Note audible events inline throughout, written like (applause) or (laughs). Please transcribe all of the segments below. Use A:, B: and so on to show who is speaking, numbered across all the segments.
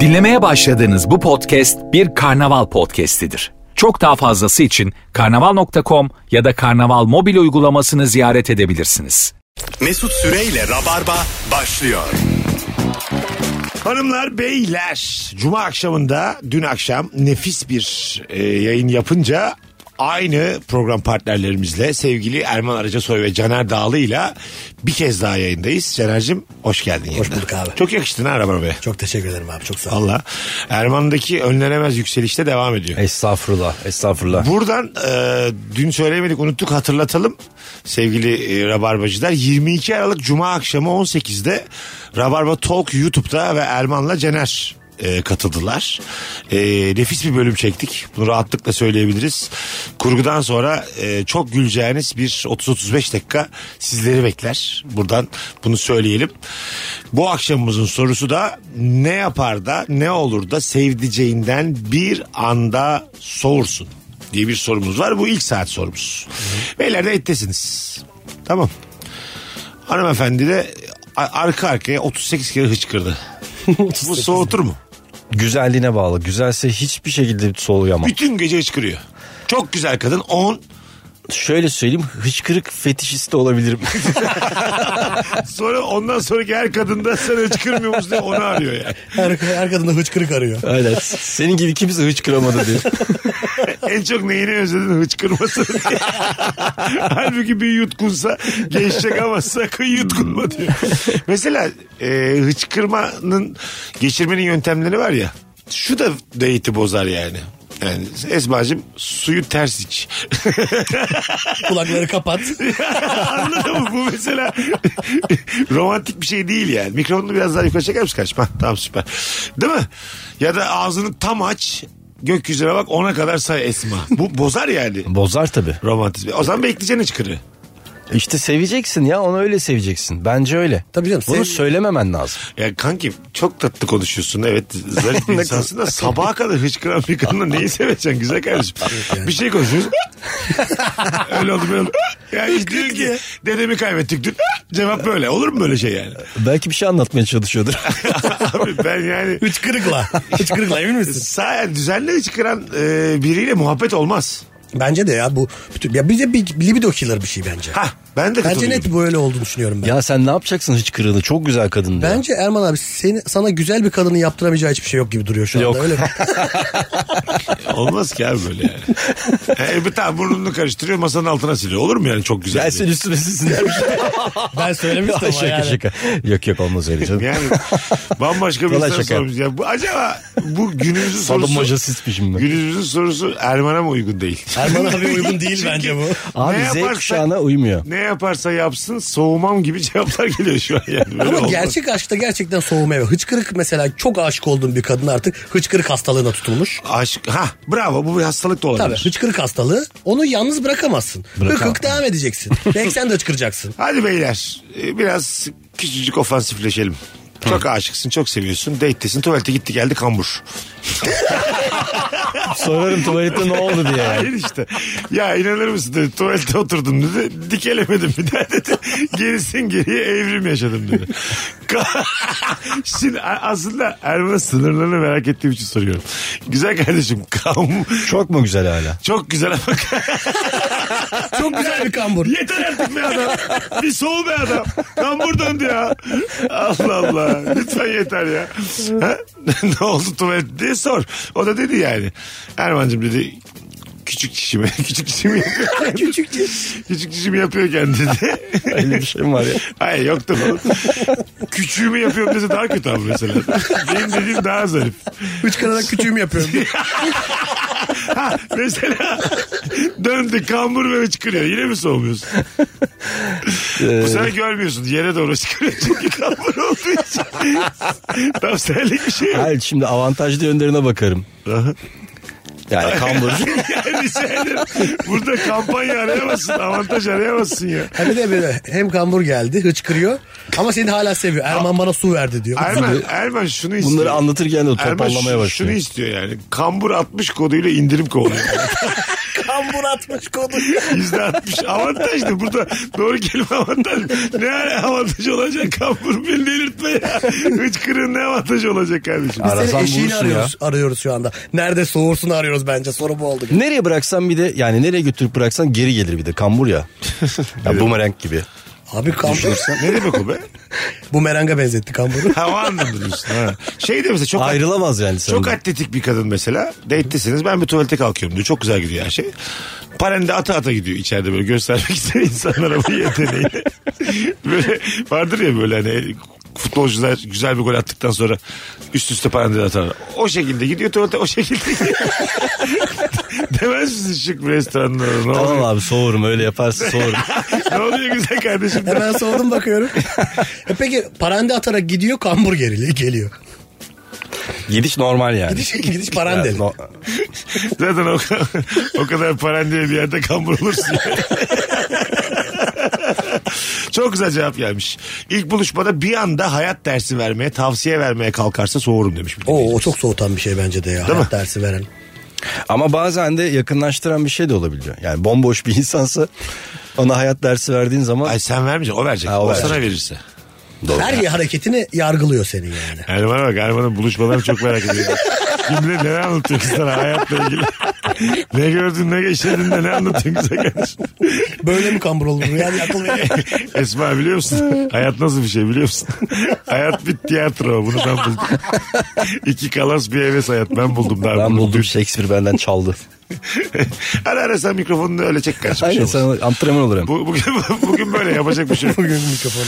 A: Dinlemeye başladığınız bu podcast bir karnaval podcastidir. Çok daha fazlası için karnaval.com ya da karnaval mobil uygulamasını ziyaret edebilirsiniz.
B: Mesut Süreyle Rabarba başlıyor.
C: Hanımlar beyler cuma akşamında dün akşam nefis bir e, yayın yapınca aynı program partnerlerimizle sevgili Erman Aracasoy ve Caner Dağlı ile bir kez daha yayındayız. Caner'cim hoş geldin yayına.
D: bulduk abi.
C: Çok yakıştın ha arabana be.
D: Çok teşekkür ederim abi çok sağ ol.
C: Valla. Erman'daki önlenemez yükselişte devam ediyor.
E: Estağfurullah, estağfurullah.
C: Buradan e, dün söylemedik unuttuk hatırlatalım sevgili e, Rabarbacılar. 22 Aralık Cuma akşamı 18'de Rabarba Talk YouTube'da ve Erman'la Cener e, katıldılar. E, nefis bir bölüm çektik. Bunu rahatlıkla söyleyebiliriz. Kurgudan sonra e, çok güleceğiniz bir 30-35 dakika sizleri bekler. Buradan bunu söyleyelim. Bu akşamımızın sorusu da ne yapar da ne olur da sevdiceğinden bir anda soğursun diye bir sorumuz var. Bu ilk saat sorumuz. Beyler de ettesiniz. Tamam. Hanımefendi de a- arka arkaya 38 kere hıçkırdı. Bu soğutur mu?
E: Güzelliğine bağlı. Güzelse hiçbir şekilde soğuyamam.
C: Bütün gece hıçkırıyor. Çok güzel kadın 10
E: Şöyle söyleyeyim, hıçkırık fetişisti (laughs) olabilirim.
C: sonra ondan sonraki her kadında sen hıçkırmıyor musun diye onu arıyor yani.
D: Her, her kadında hıçkırık arıyor.
E: Aynen. Senin gibi kimse hıçkıramadı diye.
C: En çok neyini özledin hıçkırmasını diye. Halbuki bir yutkunsa geçecek ama sakın yutkunma diyor. Mesela e, hıçkırmanın geçirmenin yöntemleri var ya. Şu da diyeti bozar yani. Yani Esma'cığım suyu ters iç. (laughs)
D: Kulakları kapat.
C: Anladın mı? Bu mesela (laughs) romantik bir şey değil yani. Mikrofonunu biraz daha yukarı çeker misin kardeşim? Ha, tamam süper. Değil mi? Ya da ağzını tam aç. Gökyüzüne bak ona kadar say Esma. Bu bozar yani.
E: Bozar tabii.
C: Romantizm. O zaman bekleyeceksin hıçkırı.
E: İşte seveceksin ya, onu öyle seveceksin. Bence öyle.
D: Tabii canım,
E: Bunu
D: sev-
E: söylememen lazım.
C: Ya kanki çok tatlı konuşuyorsun. Evet zarif
D: (laughs)
C: bir insansın da sabaha kadar hıçkıran bir kadınla neyi seveceksin güzel
D: (laughs)
C: kardeşim. Bir şey konuşuyoruz. öyle oldu böyle oldu. Yani diyor ki dedemi kaybettik dün. Cevap böyle. Olur mu böyle şey
D: (laughs)
C: yani?
E: Belki bir şey anlatmaya çalışıyordur.
C: Abi ben yani
D: (laughs) Hıçkırıkla. Hıçkırıkla emin misin?
C: sahiden düzenli hıçkıran e, biriyle muhabbet olmaz.
D: Bence de ya bu bütün ya bize bir libido killer bir şey bence.
C: Ha ben de
D: Bence
C: katılıyorum.
D: net böyle olduğunu düşünüyorum ben.
E: (laughs) ya sen ne yapacaksın hıçkırığını? Çok güzel kadın diyor.
D: Bence Erman abi seni, sana güzel bir kadını yaptıramayacağı hiçbir şey yok gibi duruyor şu anda.
E: Yok.
D: Öyle mi?
C: Olmaz ki abi böyle yani. e, bir tane burnunu karıştırıyor masanın altına siliyor. Olur mu yani çok güzel. değil.
E: Gelsin üstüne sizin (laughs) demiş.
D: (laughs) ben söylemiştim ama
E: şaka
D: yani.
E: şaka. Yok yok olmaz öyle canım.
C: Yani bambaşka bir
E: Kolay
C: soru
E: şaka.
C: sormuş. Ya bu, acaba bu günümüzün
E: Salım
C: sorusu...
E: şimdi.
C: Günümüzün sorusu Erman'a mı uygun değil?
D: Erman abi uygun değil
C: Çünkü
D: bence bu.
E: Abi
C: ne
E: Z
C: yaparsa-
E: kuşağına (laughs) uymuyor.
C: Ne yaparsa yapsın soğumam gibi (laughs) cevaplar geliyor şu an yani. Böyle
D: Ama
C: olmaz.
D: gerçek aşkta gerçekten soğumaya var. Hıçkırık mesela çok aşık olduğun bir kadın artık hıçkırık hastalığına tutulmuş.
C: Aşk, ha bravo bu bir hastalık da olabilir.
D: Tabii hıçkırık hastalığı onu yalnız bırakamazsın.
E: Bırakamam.
D: Hıkık devam edeceksin. Belki sen de hıçkıracaksın.
C: Hadi beyler e, biraz küçücük ofansifleşelim. Çok aşıksın, çok seviyorsun. Date'tesin, tuvalete gitti geldi kambur.
E: Sorarım tuvalette ne oldu diye.
C: Hayır işte. Ya inanır mısın dedi. Tuvalete oturdum dedi. Dikelemedim bir daha dedi. Gerisin geriye evrim yaşadım dedi. Ka- Şimdi a- aslında Erman'ın sınırlarını merak ettiğim için soruyorum. Güzel kardeşim kam
E: Çok mu güzel hala?
C: çok güzel ama
D: Çok güzel bir (laughs) kambur.
C: yeter artık be adam. Bir soğu be adam. Kambur döndü ya. Allah Allah. Lütfen yeter ya. Ha? ne oldu tuvalet diye sor. O da dedi yani. Erman'cığım dedi küçük çişimi (laughs) küçük çişimi yapıyor.
D: Küçük diş.
C: Küçük dişimi yapıyor
E: (laughs)
C: kendisi.
E: Öyle bir şey mi var ya?
C: Hayır yoktu bu. Küçüğümü yapıyorum dese daha kötü abi mesela. Benim dediğim daha zarif.
D: Hıçkırarak küçüğümü yapıyorum.
C: Ha, mesela döndü kambur ve çıkıyor. Yine mi soğumuyorsun?
E: Ee.
C: Bu sefer görmüyorsun. Yere doğru çıkıyor çünkü kambur olduğu için. Tam senlik bir şey yok.
E: Hayır şimdi avantajlı yönlerine bakarım.
C: (laughs)
E: Yani kambur.
C: Yani sen burada kampanya arayamazsın. Avantaj arayamazsın ya.
D: Hem de böyle hem kambur geldi hıçkırıyor ama seni hala seviyor. Erman bana su verdi diyor.
C: Erman, Erman şunu istiyor.
E: Bunları anlatırken de
C: Erman şu-
E: toparlamaya
C: Şunu
E: başlıyor. (laughs)
C: istiyor yani. Kambur 60 koduyla indirim kovalıyor.
D: Kambur atmış konu.
C: Yüzde altmış. Avantajlı. Burada doğru kelime avantaj. Ne avantaj olacak? Kambur beni delirtme ya. Hıçkırığın ne avantajı olacak kardeşim?
E: Ara-
D: Seni
E: Arasan
D: eşiğini
E: bulursun
D: arıyoruz, arıyoruz şu anda. Nerede soğursun arıyoruz bence. Soru bu oldu.
E: Nereye bıraksan bir de yani nereye götürüp bıraksan geri gelir bir de kambur ya. ya bumerang gibi.
D: Abi kambur.
C: ne demek o be?
D: bu meranga benzetti kamburu.
C: Ha o anlamda diyorsun. Ha. Şey de mesela çok
E: Ayrılamaz yani sen.
C: Çok atletik bir kadın mesela. Date'tesiniz ben bir tuvalete kalkıyorum diyor. Çok güzel gidiyor her şey. Parende ata ata gidiyor içeride böyle göstermek (laughs) isteyen insanlara bu yeteneği. (laughs) böyle vardır ya böyle hani futbolcular güzel bir gol attıktan sonra üst üste parende atar. O şekilde gidiyor tuvalete o şekilde gidiyor. (laughs) Demez misin şık bir restoranda? Ne
E: Tamam
C: oluyor?
E: abi soğurum öyle yaparsın
C: (laughs)
E: soğurum.
C: ne oluyor güzel kardeşim?
D: Hemen soğudum bakıyorum. E peki parande atarak gidiyor kambur gerili geliyor.
E: Gidiş normal yani.
D: Gidiş, gidiş
E: Ya,
D: parandeli.
E: no-
C: Zaten o, kadar- o kadar paran diye bir yerde kambur olursun. Çok güzel cevap gelmiş. İlk buluşmada bir anda hayat dersi vermeye, tavsiye vermeye kalkarsa soğurum demiş. bir
D: Oo,
C: dinleyicimiz.
D: o çok soğutan bir şey bence de ya.
C: mi?
D: Hayat dersi veren.
E: Ama bazen de yakınlaştıran bir şey de olabiliyor. Yani bomboş bir insansa ona hayat dersi verdiğin zaman
C: Ay sen vermeyeceksin, o verecek.
E: Ha,
C: o
E: o verecek.
C: sana verirse.
D: Her hareketini yargılıyor seni yani.
C: Erman'a bak, Erman'ın buluşmaları çok merak ediyorum. Kim bilir neler anlatıyor ki sana hayatla ilgili. ne gördün, ne geçirdin de ne anlatıyorsun bize kardeşim.
D: Böyle mi kambur olur? Yani akıl veriyor.
C: (laughs) Esma biliyor musun? Hayat nasıl bir şey biliyor musun? (laughs) hayat bir tiyatro. Bunu ben buldum. (laughs) İki kalas bir heves hayat. Ben buldum daha
E: ben
C: bunu.
E: buldum Shakespeare benden çaldı.
C: (laughs) Ara ara sen mikrofonunu öyle çek karşı. bir şey
E: Aynen
C: olmaz.
E: sana antrenman olurum.
C: Bu, bugün, (laughs) bugün böyle yapacak bir şey yok.
D: Bugün mikrofonum.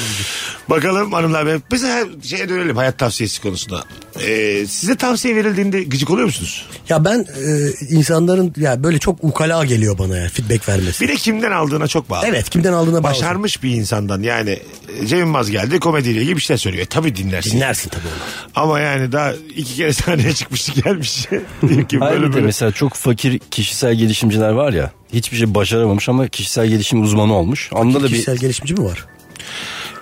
C: Bakalım hanımlar beyler. Biz her şeye dönelim hayat tavsiyesi konusunda. Ee, size tavsiye verildiğinde gıcık oluyor musunuz?
D: Ya ben e, insanların ya böyle çok ukala geliyor bana ya feedback vermesi.
C: Bir de kimden aldığına çok bağlı.
D: Evet kimden aldığına bağlı.
C: Başarmış bir insandan yani e, Cem Yılmaz geldi komediyle ilgili bir şeyler söylüyor. E, tabii dinlersin.
D: Dinlersin tabii onu.
C: Ama yani daha iki kere sahneye çıkmıştı (laughs) gelmiş. Diyor ki
E: Hayır
C: böyle
E: bir de
C: böyle.
E: mesela çok fakir kişisel gelişimciler var ya. Hiçbir şey başaramamış ama kişisel gelişim uzmanı olmuş. Onda da bir
D: Kişisel gelişimci mi var?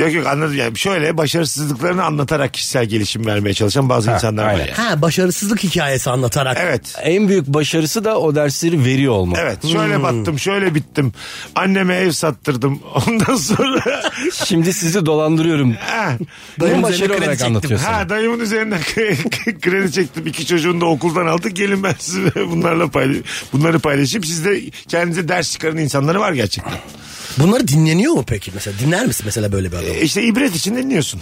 C: Yok yok anladım yani şöyle başarısızlıklarını anlatarak kişisel gelişim vermeye çalışan bazı insanlar var
E: aynen.
C: yani.
D: Ha başarısızlık hikayesi anlatarak.
C: Evet.
E: en büyük başarısı da o dersleri veriyor olmak.
C: Evet şöyle battım şöyle bittim anneme ev sattırdım (laughs) ondan sonra (laughs)
E: Şimdi sizi dolandırıyorum.
C: ha,
E: Dayım
D: üzerine
E: başarı
D: kredi
E: olarak
D: çektim.
E: anlatıyor sana.
C: ha dayımın üzerinden kre- kredi çektim iki çocuğunu da okuldan aldık gelin ben size bunlarla paylaş bunları paylaşayım siz de kendinize ders çıkaran insanları var gerçekten
D: Bunları dinleniyor mu peki? Mesela dinler misin mesela böyle bir adamı?
C: E, işte ibret için dinliyorsun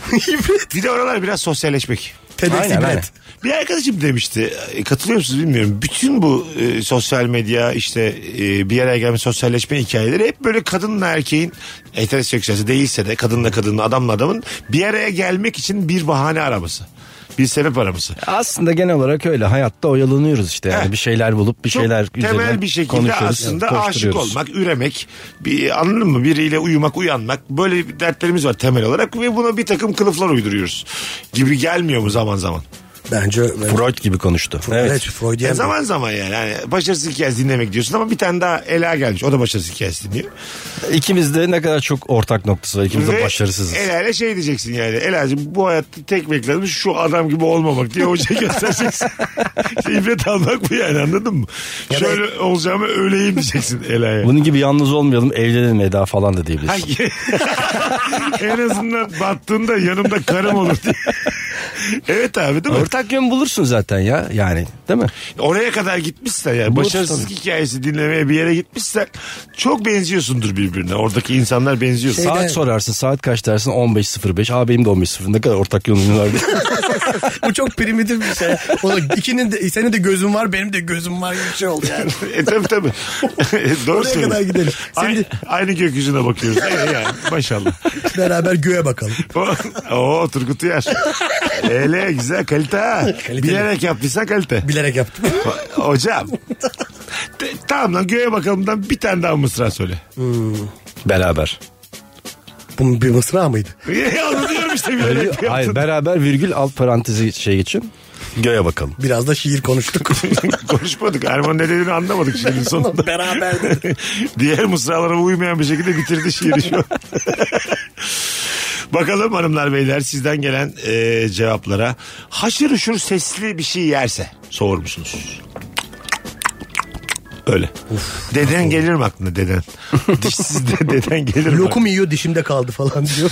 C: bir de oralar biraz sosyalleşmek
D: TEDx
E: aynen, aynen.
D: ibret.
C: Bir arkadaşım demişti e, katılıyor musunuz bilmiyorum. Bütün bu e, sosyal medya işte e, bir araya gelme sosyalleşme hikayeleri hep böyle kadınla erkeğin heteroseksüelse değilse de kadınla kadının adamla adamın bir araya gelmek için bir bahane araması. Bir sebep araması.
E: Aslında genel olarak öyle hayatta oyalanıyoruz işte. Yani
C: Heh.
E: bir şeyler bulup bir
C: Çok
E: şeyler
C: temel
E: üzerine
C: bir şekilde
E: konuşuyoruz,
C: aslında aşık
E: koşturuyoruz.
C: olmak, üremek, bir, anladın mı? Biriyle uyumak, uyanmak böyle bir dertlerimiz var temel olarak ve buna bir takım kılıflar uyduruyoruz gibi gelmiyor mu zaman zaman?
D: Bence.
E: Freud gibi konuştu.
D: Evet. evet Freudyen.
C: Yani E, zaman zaman yani. yani başarısız hikayesi dinlemek diyorsun ama bir tane daha Ela gelmiş. O da başarısız hikayesi dinliyor.
E: İkimiz de ne kadar çok ortak noktası var. İkimiz de
C: Ve
E: başarısızız.
C: Ela ile şey diyeceksin yani. Ela'cığım bu hayatta tek beklenmiş şu adam gibi olmamak diye hoca
D: (laughs)
C: göstereceksin. İbret almak bu yani anladın mı?
D: Ya da-
C: Şöyle olacağımı öleyim diyeceksin Ela'ya.
E: Bunun gibi yalnız olmayalım evlenelim Eda falan da diyebilirsin.
C: Ay, (laughs) en azından battığında yanımda karım olur diye. evet abi değil mi?
E: Ortak yön bulursun zaten ya yani değil mi?
C: Oraya kadar gitmişsen yani
E: Bulursun
C: başarısızlık
E: tabii.
C: hikayesi dinlemeye bir yere gitmişsen çok benziyorsundur birbirine. Oradaki insanlar benziyor.
D: Şey-
E: Saat sorarsın saat kaç dersin 15.05 abi benim de 15.05 ne kadar ortak yönümüz var
D: (laughs)
E: diye.
D: Bu çok primitif bir
C: (laughs)
D: şey. O ikinin de, senin de gözün var benim de gözüm var gibi bir şey oldu yani.
C: (laughs) e tabii tabii.
D: (laughs)
C: (laughs) Doğru
D: Oraya
C: söylüyorsun.
D: kadar gidelim. Seni
C: Aynı,
D: de-
C: aynı gökyüzüne bakıyoruz.
D: (laughs)
C: E yani maşallah.
D: Beraber göğe bakalım.
C: O- Oo Turgut Uyar. Öyle güzel kalite ha.
D: Kaliteli.
C: Bilerek yaptıysa
D: (laughs)
C: kalite.
D: Bilerek yaptım.
C: Ho- Hocam. Te- tamam lan göğe bakalımdan bir tane daha mısra söyle. (laughs)
E: beraber.
D: Bunun bir mısra mıydı?
C: Onu diyorum işte bilerek yaptın. (laughs)
E: Hayır beraber virgül alt parantezi şey geçin. Göğe bakalım.
D: Biraz da şiir konuştuk.
C: Konuşmadık. Erman ne dediğini anlamadık şimdi sonunda.
D: Beraber.
C: (laughs) Diğer mısralara uymayan bir şekilde bitirdi şiiri şu an. (laughs) Bakalım hanımlar beyler sizden gelen e, cevaplara. Haşır uşur sesli bir şey yerse soğur musunuz? Öyle. deden gelir mi aklına
D: (laughs)
C: deden? Dişsiz de deden gelir mi?
D: Lokum yiyor dişimde kaldı falan diyor.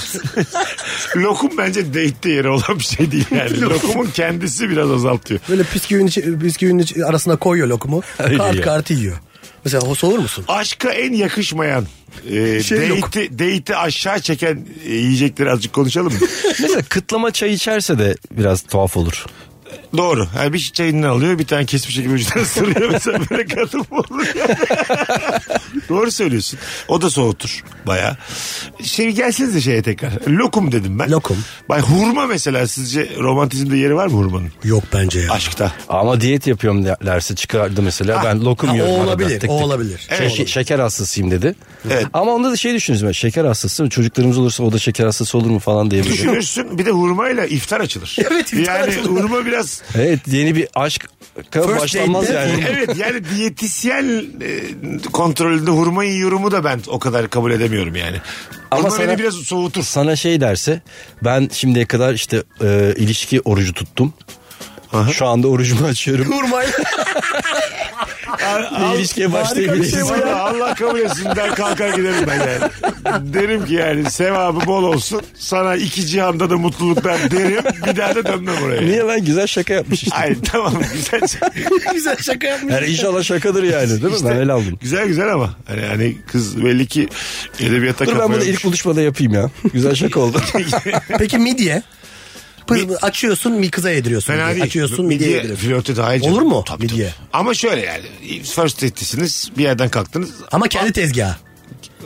C: Lokum bence date'de yeri olan bir şey değil
D: (laughs)
C: yani. Lokumun kendisi biraz azaltıyor.
D: Böyle bisküvinin, içi- bisküvinin içi- arasına koyuyor (laughs) lokumu.
E: Öyle
D: kart
E: ya.
D: kartı yiyor. Mesela hoş olur musun?
C: Aşka en yakışmayan e,
D: Şey yok.
C: date'i- date'i aşağı çeken e, yiyecekleri azıcık konuşalım mı?
E: Mesela kıtlama çay içerse de biraz tuhaf olur.
C: Doğru. Yani bir çayından alıyor bir tane kesmiş gibi ucundan ısırıyor. Mesela böyle kadın mı olur? (laughs) Doğru söylüyorsun. O da soğutur baya. Şey gelseniz de şeye tekrar. Lokum dedim ben.
D: Lokum.
C: Bay hurma mesela sizce romantizmde yeri var mı hurmanın?
D: Yok bence ya.
C: Aşkta.
E: Ama diyet yapıyorum derse çıkardı mesela. Ben lokum
D: Ah, ha, o
E: yiyorum. arada.
D: olabilir, o olabilir.
E: Şe-
D: Evet.
E: şe- şeker hastasıyım dedi.
C: Evet.
E: Ama onda da şey düşünürüz. ben, Şeker hastası çocuklarımız olursa o da şeker hastası olur mu falan diye. bir-
D: (laughs)
C: Düşünürsün bir de hurmayla iftar açılır.
D: Evet, iftar
C: yani
D: açılır.
C: hurma biraz
E: evet yeni bir aşk
D: date'de
E: başlanmaz yani.
C: evet yani diyetisyen e, kontrolünde hurma yorumu da ben o kadar kabul edemiyorum yani. Ama
E: Ama
C: hurma beni
E: sana-
C: biraz soğutur.
E: Sana şey derse ben şimdiye kadar işte e, ilişki orucu tuttum. Şu anda orucumu
C: (laughs)
E: açıyorum.
D: Hurmayla.
E: Bir ilişkiye başlayabiliriz.
C: Vallahi Allah kabul etsin der kalkar giderim ben yani. Derim ki yani sevabı bol olsun. Sana iki cihanda da mutluluklar derim. Bir daha da dönmem oraya.
E: (laughs) Niye ben güzel şaka yapmış işte.
C: Ay tamam güzel.
D: Güzel şaka yapmış.
E: Yani inşallah şakadır yani değil mi? ben öyle aldım.
C: Güzel güzel ama. Hani, hani kız belli ki edebiyata
E: Dur ben bunu
C: kafayı-
E: ilk buluşmada yapayım ya. Güzel şaka oldu.
D: Peki midye? Pır- açıyorsun mi kıza yediriyorsun.
C: Fena
D: diye.
C: değil.
D: Açıyorsun midye yediriyorsun.
C: flörte dahil. canım.
D: Olur mu
C: Tabii, tabii.
D: midye?
C: Ama şöyle yani. First date'lisiniz. Bir yerden kalktınız.
D: Ama kendi tezgahı.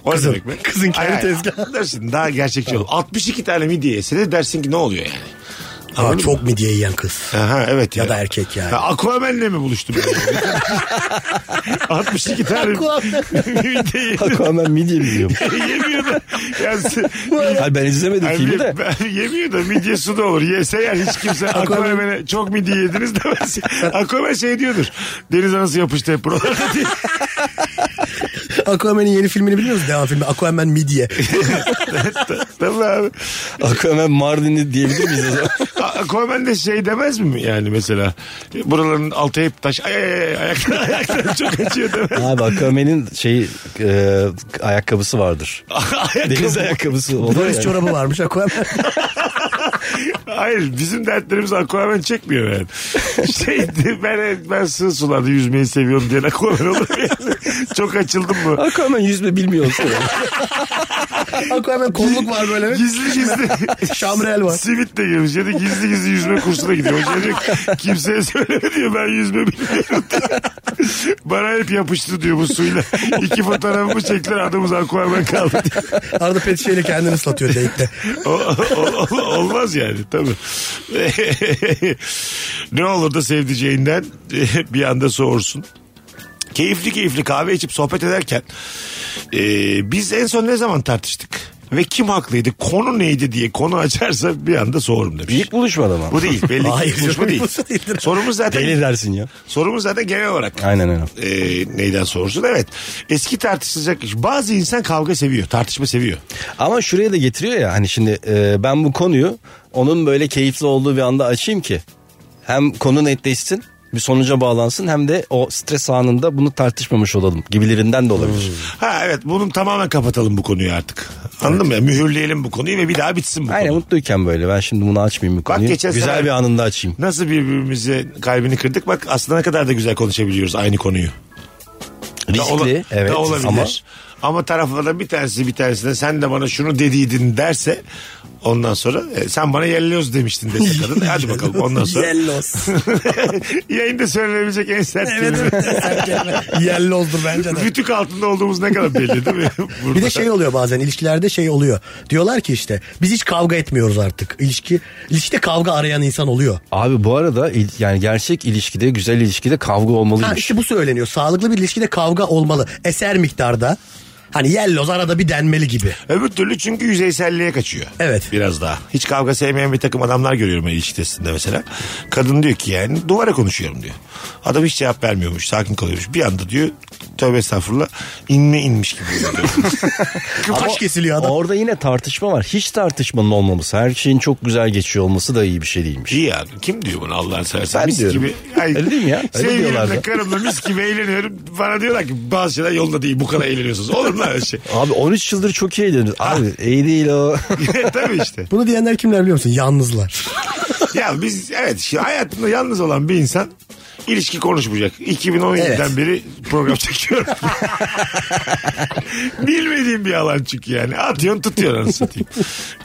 C: O ne
D: Kızın-
C: demek be?
D: kızın kendi
C: Ay, ay,
D: tezgahı.
C: Dersin daha gerçekçi olur. 62 tane midye yese de dersin ki ne oluyor yani?
D: Aa, çok midye yiyen kız.
C: Aha, evet
D: Ya da erkek yani.
C: Ha, Aquaman'le mi buluştum? ben? 62 tane (laughs) midye yedim.
E: Aquaman midye mi yiyorum?
C: yemiyor da. Yani, se-
E: Hayır ben izlemedim
C: Yani
E: filmi de.
C: mi- ben- yemiyor da midye su da olur. Yese yer hiç kimse Aquaman'e çok midye yediniz demez. Aquaman şey diyordur. Deniz anası yapıştı hep buralarda
D: (laughs)
C: diye.
D: (laughs) Aquaman'in yeni filmini biliyor musun? Devam filmi. Aquaman (laughs) midye.
C: Tabii abi.
E: Aquaman Mardin'i diyebilir miyiz o zaman?
C: Aquaman de şey demez mi yani mesela? Buraların altı hep taş. Ay ay ay ayaklar, ayaklar çok acıyor demez.
E: Abi Aquaman'in şeyi e, ayakkabısı vardır. Deniz ayakkabısı olur
D: Deniz
E: yani.
D: çorabı varmış (laughs) Aquaman.
C: Hayır bizim dertlerimiz Aquaman çekmiyor
D: (laughs)
C: yani. Şey ben, ben sığ sularda yüzmeyi seviyorum diyen Aquaman olur mu yani? (laughs) Çok açıldım mı?
E: Aquaman yüzme bilmiyorsun.
D: Aquaman kolluk var böyle.
C: Gizli gizli.
D: (laughs) Şamrel var.
C: Simit de girmiş. Ya da gizli gizli yüzme kursuna gidiyor. Hoca diyor ki, kimseye söyleme diyor ben yüzme bilmiyorum. (laughs) Bana hep yapıştı diyor bu suyla. İki fotoğrafımı çektiler adımız Aquaman kaldı diyor.
D: Arada pet şişeyle kendini (laughs) ıslatıyor date'de.
C: O- o- o- olmaz yani tabii. (laughs) ne olur da sevdiceğinden (laughs) bir anda soğursun. Keyifli keyifli kahve içip sohbet ederken e, biz en son ne zaman tartıştık? Ve kim haklıydı? Konu neydi diye konu açarsa bir anda soğurum demiş.
E: İlk buluşmada mı?
C: Bu
D: (laughs)
C: değil. Belli
D: Hayır,
C: ki konuşma
D: yok,
C: değil.
D: bu değildir.
C: Sorumuz zaten
E: Deli dersin ya.
C: sorumuz zaten genel olarak
E: Aynen öyle.
C: e, neyden sorursun. Evet. Eski tartışılacak iş. Bazı insan kavga seviyor. Tartışma seviyor.
E: Ama şuraya da getiriyor ya hani şimdi e, ben bu konuyu onun böyle keyifli olduğu bir anda açayım ki hem konu netleşsin bir sonuca bağlansın hem de o stres anında bunu tartışmamış olalım gibilerinden de olabilir.
C: Ha evet bunun tamamen kapatalım bu konuyu artık. Anladın mı? Mühürleyelim bu konuyu ve bir daha bitsin bu
E: Aynen
C: konu.
E: mutluyken böyle ben şimdi bunu açmayayım bu konuyu.
C: geçen
E: Güzel
C: sene-
E: bir anında açayım.
C: Nasıl birbirimize kalbini kırdık bak aslında ne kadar da güzel konuşabiliyoruz aynı konuyu. Da
E: Riskli
C: ola-
E: evet
C: da olabilir.
E: ama
C: Ama, taraflardan bir tanesi bir tanesine sen de bana şunu dediydin derse ondan sonra e, sen bana yelloz demiştin dese kadın. "E, Hadi bakalım ondan sonra.
D: Yellos.
C: (laughs) Yayında söylenebilecek en sert
D: evet
C: kelime.
D: evet. Sen kelime. (laughs) Yellos'dur bence de.
C: Rütük altında olduğumuz ne kadar belli değil mi? Burada.
D: Bir de şey oluyor bazen ilişkilerde şey oluyor. Diyorlar ki işte biz hiç kavga etmiyoruz artık. İlişki ilişkide kavga arayan insan oluyor.
E: abi bu arada il- yani gerçek ilişkide güzel ilişkide kavga
D: Ha
E: olmalıymış.
D: işte bu söyleniyor. Sağlıklı bir ilişkide kavga olmalı. Eser miktarda. Hani yelloz arada bir denmeli gibi.
C: Öbür türlü çünkü yüzeyselliğe kaçıyor.
D: Evet.
C: Biraz daha. Hiç kavga sevmeyen bir takım adamlar görüyorum ben ilişki testinde mesela. Kadın diyor ki yani duvara konuşuyorum diyor. Adam hiç cevap vermiyormuş. Sakin kalıyormuş. Bir anda diyor tövbe estağfurullah inme inmiş gibi. oluyor. (laughs)
D: Kıpaç kesiliyor adam.
E: Orada yine tartışma var. Hiç tartışmanın olmaması, her şeyin çok güzel geçiyor olması da iyi bir şey değilmiş.
C: İyi ya. Kim diyor bunu Allah'ını seversen?
E: Ben
C: mis
E: diyorum.
C: gibi. Ay,
E: Öyle değil mi ya? Öyle diyorlar
C: Sevgilimle
E: da.
C: karımla mis gibi eğleniyorum. Bana diyorlar ki bazı şeyler yolda değil. Bu kadar eğleniyorsunuz. Olur mu lan öyle şey? (laughs)
E: Abi 13 yıldır çok iyi eğleniyoruz. Abi iyi değil o.
C: Tabii işte.
D: Bunu diyenler kimler biliyor musun? (laughs) Yalnızlar.
C: (laughs) Ya biz evet şu hayatında yalnız olan bir insan ilişki konuşmayacak. 2017'den
D: Evet.
C: beri program (laughs) çekiyorum. Bilmediğim bir alan çünkü yani. Atıyorsun tutuyorsun anasını satayım.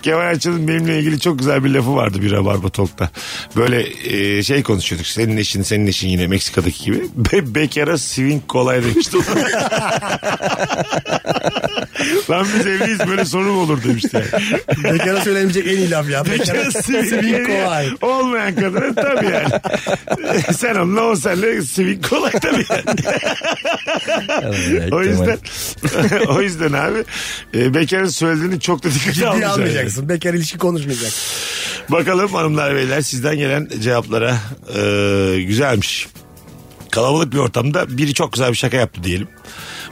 C: Kemal Ayça'nın benimle ilgili çok güzel bir lafı vardı bir Rabarba Talk'ta. Böyle e, şey konuşuyorduk. Senin eşin senin eşin yine Meksika'daki gibi. Be bekara swing kolay demişti. (laughs) Lan biz evliyiz böyle sorun olur demişti yani.
D: Bekara söylenmeyecek en iyi laf ya. (laughs) Bekara
C: Swing
D: Swing kolay.
C: Olmayan kadına tabii yani.
D: (laughs)
C: Sen onunla o senle swing kolay tabii yani. o yüzden (laughs) o yüzden abi e, bekarın söylediğini çok da dikkate
D: Ciddiye
C: almayacaksın.
D: almayacaksın. Bekar ilişki konuşmayacak.
C: Bakalım hanımlar beyler sizden gelen cevaplara e, güzelmiş. Kalabalık bir ortamda biri çok güzel bir şaka yaptı diyelim.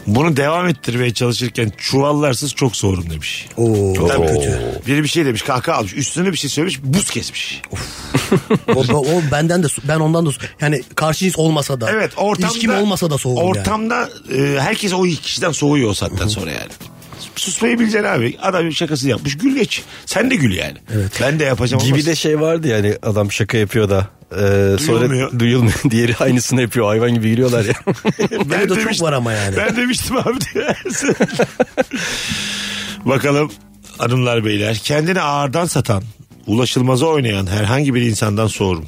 C: Bunu devam ettirmeye çalışırken çuvallarsız çok sorun demiş.
D: Oo,
C: Tabii.
D: çok kötü.
C: Biri bir şey demiş kahkaha almış üstüne bir şey söylemiş buz kesmiş.
D: O, o- o benden de ben ondan da yani karşı cins olmasa da.
C: Evet ortamda.
D: ilişkim olmasa da soğudum yani.
C: Ortamda e, herkes o iki kişiden soğuyor o saatten sonra yani. Susmayı bileceksin abi. Adam şakası yapmış. Gül geç. Sen de gül yani. Ben de yapacağım.
E: Gibi
C: olmaz.
E: de şey vardı yani adam şaka yapıyor da. e,
C: Duyulmuyor.
E: sonra duyulmuyor. (laughs) Diğeri aynısını yapıyor. Hayvan gibi gülüyorlar ya.
C: ben
D: Öyle şey- de çok var ama yani.
C: Ben demiştim abi diye. Bakalım hanımlar beyler. Kendini ağırdan satan, ulaşılmaza oynayan herhangi bir insandan sorum.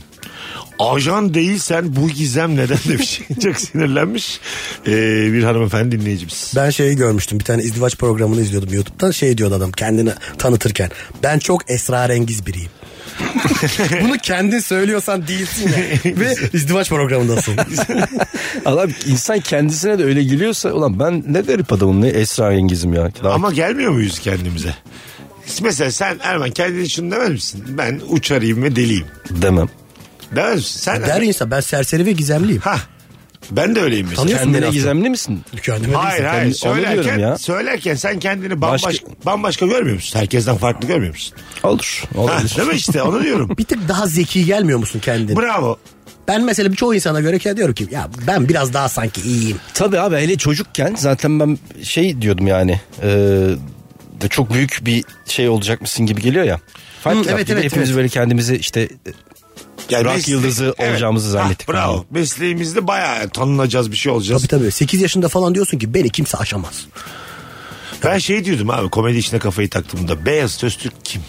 C: Ajan değilsen bu gizem neden demiş. (laughs) Çok sinirlenmiş e, bir hanımefendi dinleyicimiz.
D: Ben şeyi görmüştüm bir tane izdivaç programını izliyordum YouTube'dan şey diyordu adam kendini tanıtırken ben çok esrarengiz biriyim. (laughs) Bunu kendin söylüyorsan değilsin ya. Ve
C: (laughs)
D: izdivaç programındasın.
E: Adam insan kendisine de öyle gülüyorsa ulan ben ne garip adamım ne esrarengizim ya. Daha-
C: Ama gelmiyor muyuz kendimize? Mesela sen Erman kendini şunu demez misin? Ben uçarıyım ve deliyim.
E: demem.
C: Demez misin?
E: E,
C: Sen hani-
D: Der insan ben serseri ve gizemliyim.
C: Ha. Ben de öyleyim mesela.
D: Tanıyor- Biliyorsun beni
E: Kendine
D: aslında.
E: gizemli misin?
D: Kendime
C: Hayır
D: değilsin.
C: hayır.
E: Onu diyorum
C: Söylerken,
E: ya.
C: söylerken sen kendini bambaşka,
E: Başka-
C: bambaşka görmüyor musun? Herkesten farklı görmüyor musun?
E: Olur.
C: Ha,
E: Olabilir.
C: değil mi işte onu
E: (laughs)
C: diyorum.
D: Bir tık daha zeki gelmiyor musun kendine?
C: Bravo.
D: Ben mesela birçok insana göre kend- diyorum ki ya ben biraz daha sanki iyiyim.
E: Tabii abi hele çocukken zaten ben şey diyordum yani. e, de çok büyük bir şey olacak mısın gibi geliyor ya. Fark
D: Hı,
E: yaptı.
D: evet,
E: Bir de
D: evet,
E: hepimiz
D: evet.
E: böyle kendimizi işte e,
C: Yani
E: Rock
C: mesle-
E: yıldızı olacağımızı zannettik.
C: Ha, bravo. Mesleğimizde bayağı tanınacağız bir şey olacağız.
D: Tabii tabii 8 yaşında falan diyorsun ki beni kimse aşamaz.
C: Ben şey diyordum abi komedi işine kafayı taktığımda Beyaz Öztürk kim?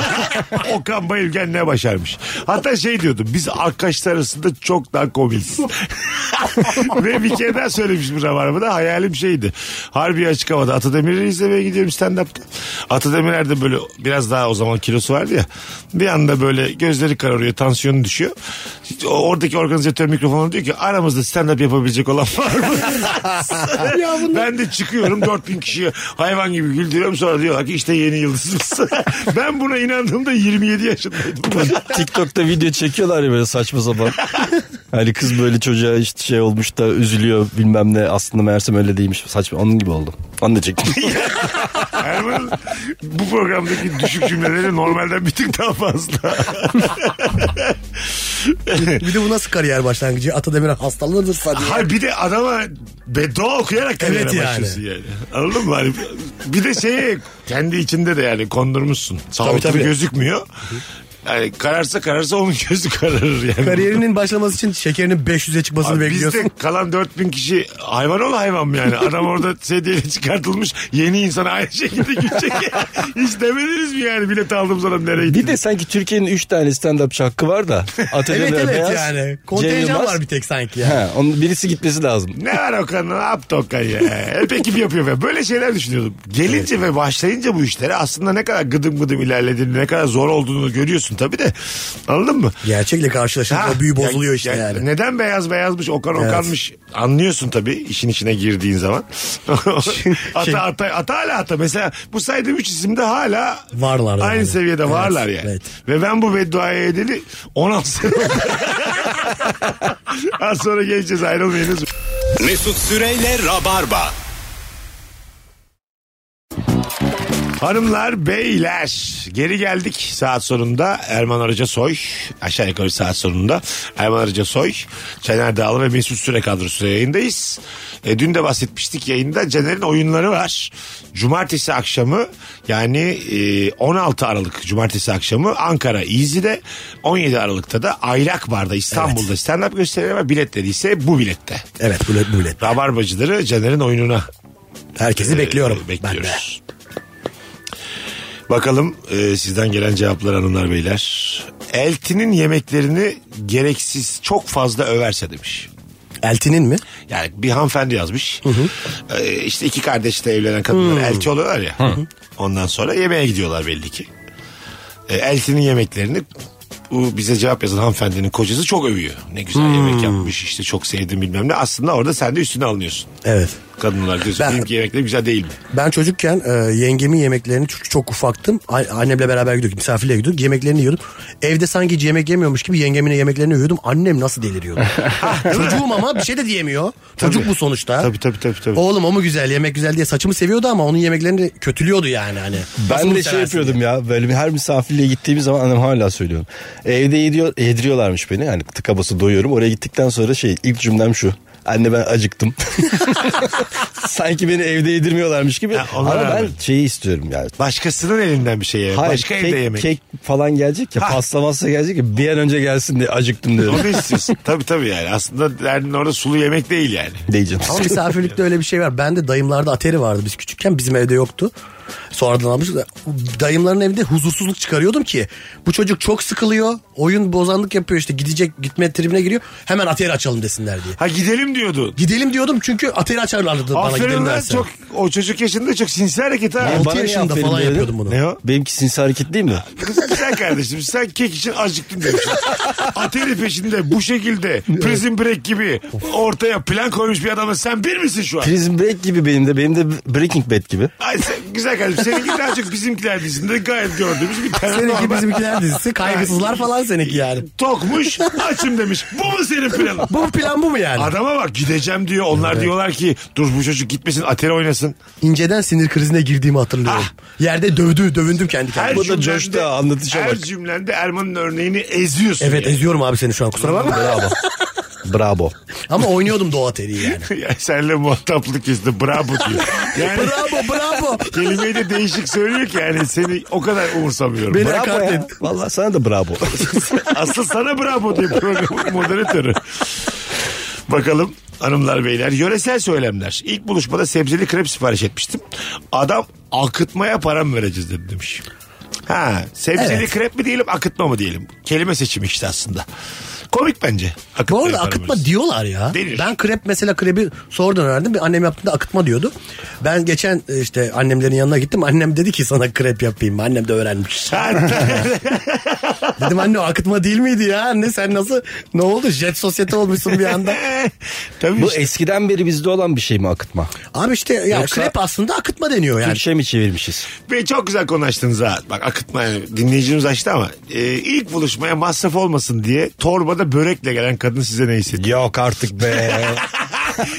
C: (laughs) Okan Bayülgen ne başarmış? Hatta şey diyordum biz arkadaşlar arasında çok daha komiyiz. (laughs) Ve bir kere daha söylemiştim Rabarba'da hayalim şeydi. Harbi açık havada Atademir'i izlemeye gidiyorum stand-up'ta. Atademirer de böyle biraz daha o zaman kilosu vardı ya. Bir anda böyle gözleri kararıyor tansiyonu düşüyor. O- Oradaki organizatör mikrofonuna diyor ki aramızda stand-up yapabilecek olan var mı? Ben de çıkıyorum 4000 kişiye hayvan gibi güldürüyorum sonra diyorlar ki işte yeni yıldızımız. (laughs) ben buna inandığımda 27 yaşındaydım. (laughs)
E: TikTok'ta video çekiyorlar ya böyle saçma sapan. hani kız böyle çocuğa işte şey olmuş da üzülüyor bilmem ne aslında meğersem öyle değilmiş saçma onun gibi oldum. Onu da çektim.
C: Erman'ın bu programdaki düşük cümleleri normalden bir tık daha fazla.
D: Bir de bu nasıl kariyer başlangıcı? Atademir hastalanırsa diye.
C: Hayır bir de adama beddua okuyarak kariyere
D: Evet yani.
C: başlıyorsun yani. Anladın mı? Hani bir de şeyi kendi içinde de yani kondurmuşsun. Sağlıklı
D: tabii.
C: gözükmüyor. Yani kararsa kararsa onun gözü kararır yani.
D: Kariyerinin başlaması için şekerinin 500'e çıkmasını
C: Abi
D: bekliyorsun.
C: Bizde kalan 4000 kişi hayvan ol hayvan mı yani? Adam
D: (laughs)
C: orada sedyeyle çıkartılmış yeni insana aynı şekilde gülecek. Hiç demediniz mi yani bilet aldığımız adam nereye gitti?
E: (laughs) Bir de sanki Türkiye'nin 3 tane stand-up hakkı var da. Atölye
D: Evet evet
E: Beyaz,
D: yani.
E: Cem
D: Kontenjan
E: Yılmaz.
D: var bir tek sanki ya.
E: He, onun birisi gitmesi lazım.
C: Ne var Okan? Ne yaptı Okan ya? Hep ekip E, yapıyor falan. Böyle şeyler düşünüyordum. Gelince ve başlayınca bu işlere aslında ne kadar gıdım gıdım ilerlediğini, ne kadar zor olduğunu görüyorsun. olsun tabii de. Anladın mı?
D: Gerçekle karşılaşınca o büyü
C: ya-
D: bozuluyor işte
C: ya-
D: yani.
C: Neden beyaz beyazmış okan
D: Evet.
C: okanmış anlıyorsun tabii işin içine girdiğin
D: (laughs)
C: zaman.
D: Şey-
C: ata, ata, ata hala ata. Mesela bu saydığım üç isimde hala
D: Varlar
C: Aynı
D: yani.
C: seviyede
D: Evet,
C: varlar yani.
D: evet.
C: Ve ben bu bedduayı edeli 16
D: (laughs)
C: sene oldu. Az sonra geleceğiz ayrılmayınız.
B: Mesut Süreyle Rabarba.
C: Hanımlar beyler geri geldik saat sonunda Erman Arıca Soy aşağı yukarı saat sonunda Erman Arıca Soy Caner Dağlı ve Mesut Süre kadrosu yayındayız. E, dün de bahsetmiştik yayında Caner'in oyunları var. Cumartesi akşamı yani e, 16 Aralık Cumartesi akşamı Ankara İzzi'de 17 Aralık'ta da Aylak Bar'da İstanbul'da stand-up gösterileri var bilet dediyse bu bilette.
D: Evet bu bilet, bu bilet.
C: Rabarbacıları Caner'in oyununa
D: Herkesi bekliyorum.
C: ee,
D: Ben de.
C: bekliyoruz. Bakalım e, sizden gelen cevaplar hanımlar beyler. Eltinin yemeklerini gereksiz çok fazla överse demiş.
D: Eltinin mi?
C: Yani bir hanımefendi yazmış. Ee, işte iki kardeşle evlenen kadınlar elti oluyorlar ya. Ondan sonra yemeğe gidiyorlar belli ki. Ee, eltinin yemeklerini bu bize cevap yazan hanımefendinin kocası çok övüyor. Ne güzel yemek yapmış işte çok sevdim bilmem ne. Aslında orada sen de üstüne alınıyorsun.
D: Evet.
C: Kadınlar diyorsun
D: Ben-
C: benimki yemeklerim güzel değil mi?
D: Ben çocukken e, yengemin yemeklerini çünkü çok ufaktım. A- annemle beraber gidiyorduk. Misafirliğe gidiyorduk. Yemeklerini yiyordum. Evde sanki hiç yemek yemiyormuş gibi yengemin yemeklerini yiyordum. Annem
C: (laughs)
D: nasıl deliriyordu. Çocuğum ama bir şey de diyemiyor. Çocuk bu sonuçta.
C: Tabii, tabii, tabii, tabii.
D: Oğlum o mu güzel yemek güzel diye saçımı seviyordu ama onun yemeklerini de kötülüyordu yani. Hani. Nasıl
E: Ben
D: bunu
E: de şey
D: seversin
E: yapıyordum
D: diye.
E: ya böyle bir- her misafirliğe gittiğim zaman annem hala söylüyorum. Evde yediyor, yediriyorlarmış beni hani tıka basa doyuyorum. Oraya gittikten sonra şey ilk cümlem şu. Anne ben acıktım. (laughs) Sanki beni evde yedirmiyorlarmış gibi.
C: Ha, ona
E: Ama
C: rağmen.
E: ben şeyi istiyorum yani.
C: Başkasının elinden bir şey yemek.
E: Hayır,
C: Başka
E: kek,
C: evde yemek.
E: kek falan gelecek ya
C: Ha.
E: pasta masa gelecek ya bir an önce gelsin diye acıktım diyorum.
C: Onu
D: (laughs)
C: istiyorsun. tabii tabii yani. Aslında derdin orada sulu yemek değil yani.
E: Diyeceğim.
D: Ama misafirlikte öyle bir şey var. Ben de dayımlarda ateri vardı biz küçükken. Bizim evde yoktu. Sonradan almışız. da. Dayımların evinde huzursuzluk çıkarıyordum ki. Bu çocuk çok sıkılıyor. Oyun bozanlık yapıyor işte. Gidecek gitme tribine giriyor. Hemen ateri açalım desinler diye.
C: Ha gidelim diyordu.
D: Gidelim diyordum çünkü ateri açarlardı bana
C: Aferin
D: gidelim
C: lan
D: derse.
C: çok o çocuk yaşında çok sinsi hareket ha.
E: Ya
D: Altı
E: bana ne
D: yaşında
E: aferin
D: falan
E: dedin?
D: yapıyordum bunu.
C: Ne o?
E: Benimki sinsi hareket değil
D: (laughs)
E: mi?
C: sen kardeşim sen kek için acıktın demişsin. Ateri peşinde bu şekilde prison break gibi ortaya plan koymuş bir adama sen bir misin şu an?
E: Prison Break gibi benim de benim de Breaking Bad gibi.
C: Ay sen, güzel kardeşim seninki daha çok bizimkiler dizisinde gayet gördüğümüz bir tane
D: Seninki
C: normal-
D: bizimkiler dizisi kaygısızlar falan seninki yani.
C: Tokmuş açım demiş. Bu mu senin planın?
D: Bu plan bu mu yani?
C: Adama bak gideceğim diyor. Onlar diyorlar ki dur bu çocuk gitmesin ateri oynasın.
D: İnceden sinir krizine girdiğimi hatırlıyorum.
C: Ah.
D: Yerde dövdü, dövündüm kendi kendime.
E: Bu
C: şey
E: da coştu ha, anlatışa
C: her
E: bak.
C: cümlende Erman'ın örneğini eziyorsun.
D: Evet
C: yani.
D: eziyorum abi seni şu an
C: (laughs)
D: kusura bakma.
E: Bravo. Bravo.
D: Ama oynuyordum Doğa Teri'yi yani.
C: Ya (laughs) senle muhataplık kesti bravo
D: (laughs)
C: diyor. Yani
D: bravo bravo.
C: kelimeyi de değişik söylüyor ki yani seni o kadar umursamıyorum.
D: Beni-
E: Bravo
D: hakaret
E: ya.
D: ettin.
E: Vallahi sana da bravo.
C: (laughs) Asıl sana bravo diyor programın moderatörü. Bakalım hanımlar beyler yöresel söylemler. İlk buluşmada sebzeli krep sipariş etmiştim. Adam akıtmaya param vereceğiz dedi demiş. Ha sebzeli
D: Evet.
C: krep mi diyelim akıtma mı diyelim. Kelime seçimi işte aslında. Komik bence. Akıtmaya
D: Bu arada
C: param
D: akıtma
C: vereceğiz.
D: diyorlar ya.
C: Denir.
D: Ben krep mesela krebi sonradan öğrendim. Bir annem yaptığında akıtma diyordu. Ben geçen e, işte annemlerin yanına gittim. Annem dedi ki sana krep yapayım. mı? Annem
C: (laughs)
D: de öğrenmiş. (laughs) Dedim anne o akıtma değil miydi ya? Anne sen nasıl ne oldu? Jet sosyete olmuşsun bir
C: (laughs)
D: anda.
C: Tabii
E: Bu
C: işte.
E: eskiden beri bizde olan bir şey mi akıtma?
D: Abi işte ya
E: Yoksa-
D: krep aslında akıtma deniyor yani.
E: Türkçe mi çevirmişiz?
C: Ve çok güzel konu açtınız ha. Bak akıtma yani dinleyicimiz açtı ama e, ilk buluşmaya masraf olmasın diye torbada börekle gelen kadın size ne hissediyor?
E: Yok artık (laughs) be.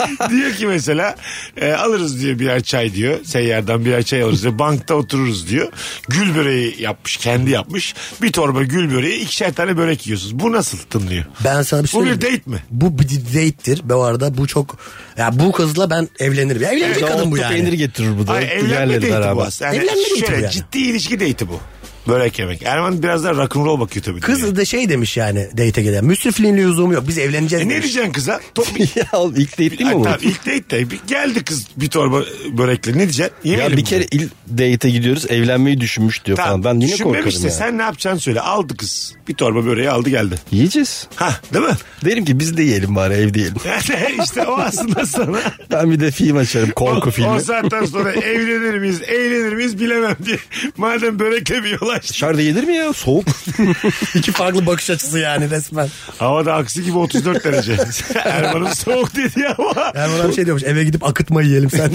C: (laughs) diyor ki mesela e, alırız diyor birer çay diyor. Seyyardan birer çay alırız diyor. Bankta otururuz diyor. Gül böreği yapmış kendi yapmış. Bir torba gül böreği ikişer tane börek yiyorsunuz. Bu nasıl tınlıyor?
D: Ben sana bir şey
C: Bu bir
D: söyleyeyim mi?
C: date mi?
D: Bu bir date'tir. Bu arada bu çok ya bu kızla ben evlenirim. Ya evlenecek kadın bu
E: Yoğurtlu
D: yani.
E: peynir getirir bu da.
C: Ay, evlenme
E: Diğerleri
C: date'i bu
E: beraber.
C: aslında. Yani
D: Evlenme date'i
C: şöyle
D: bu yani.
C: ciddi ilişki date'i bu. Börek yemek. Erman biraz daha rock'n'roll bakıyor tabii.
D: Kız
C: dünyaya.
D: da şey demiş yani date'e gelen. Müsrifliğin lüzumu yok. Biz evleneceğiz.
C: E, ne
D: demiş.
C: diyeceksin kıza? Top,
E: (laughs) ya oğlum ilk date değil
C: Ay,
E: mi bu?
C: tamam, ilk date de bir geldi kız bir torba börekle ne diyeceksin?
E: Ya
C: Yemeyelim
E: bir
C: mi?
E: kere il date'e gidiyoruz evlenmeyi düşünmüş diyor
C: Tamam,
E: falan. Ben yine
C: düşünmemiş
E: korkarım
C: de
E: ya.
C: Sen ne yapacaksın söyle. Aldı kız. Bir torba böreği aldı geldi.
E: Yiyeceğiz.
C: Ha değil mi?
E: Derim ki biz de yiyelim bari evde yiyelim.
C: Yani işte o aslında sana.
E: (laughs) Ben bir de film açarım korku
C: O
E: filmi.
C: saatten sonra evlenir miyiz, eğlenir miyiz bilemem diye. Madem börek yemiyorlar dolaştı.
E: Dışarıda yenir mi ya? Soğuk. (laughs)
D: İki farklı bakış açısı yani resmen.
C: Havada aksi gibi 34 derece. (laughs) Erman'ım soğuk dedi ama.
D: Erman abi şey diyormuş eve gidip akıtma yiyelim sen.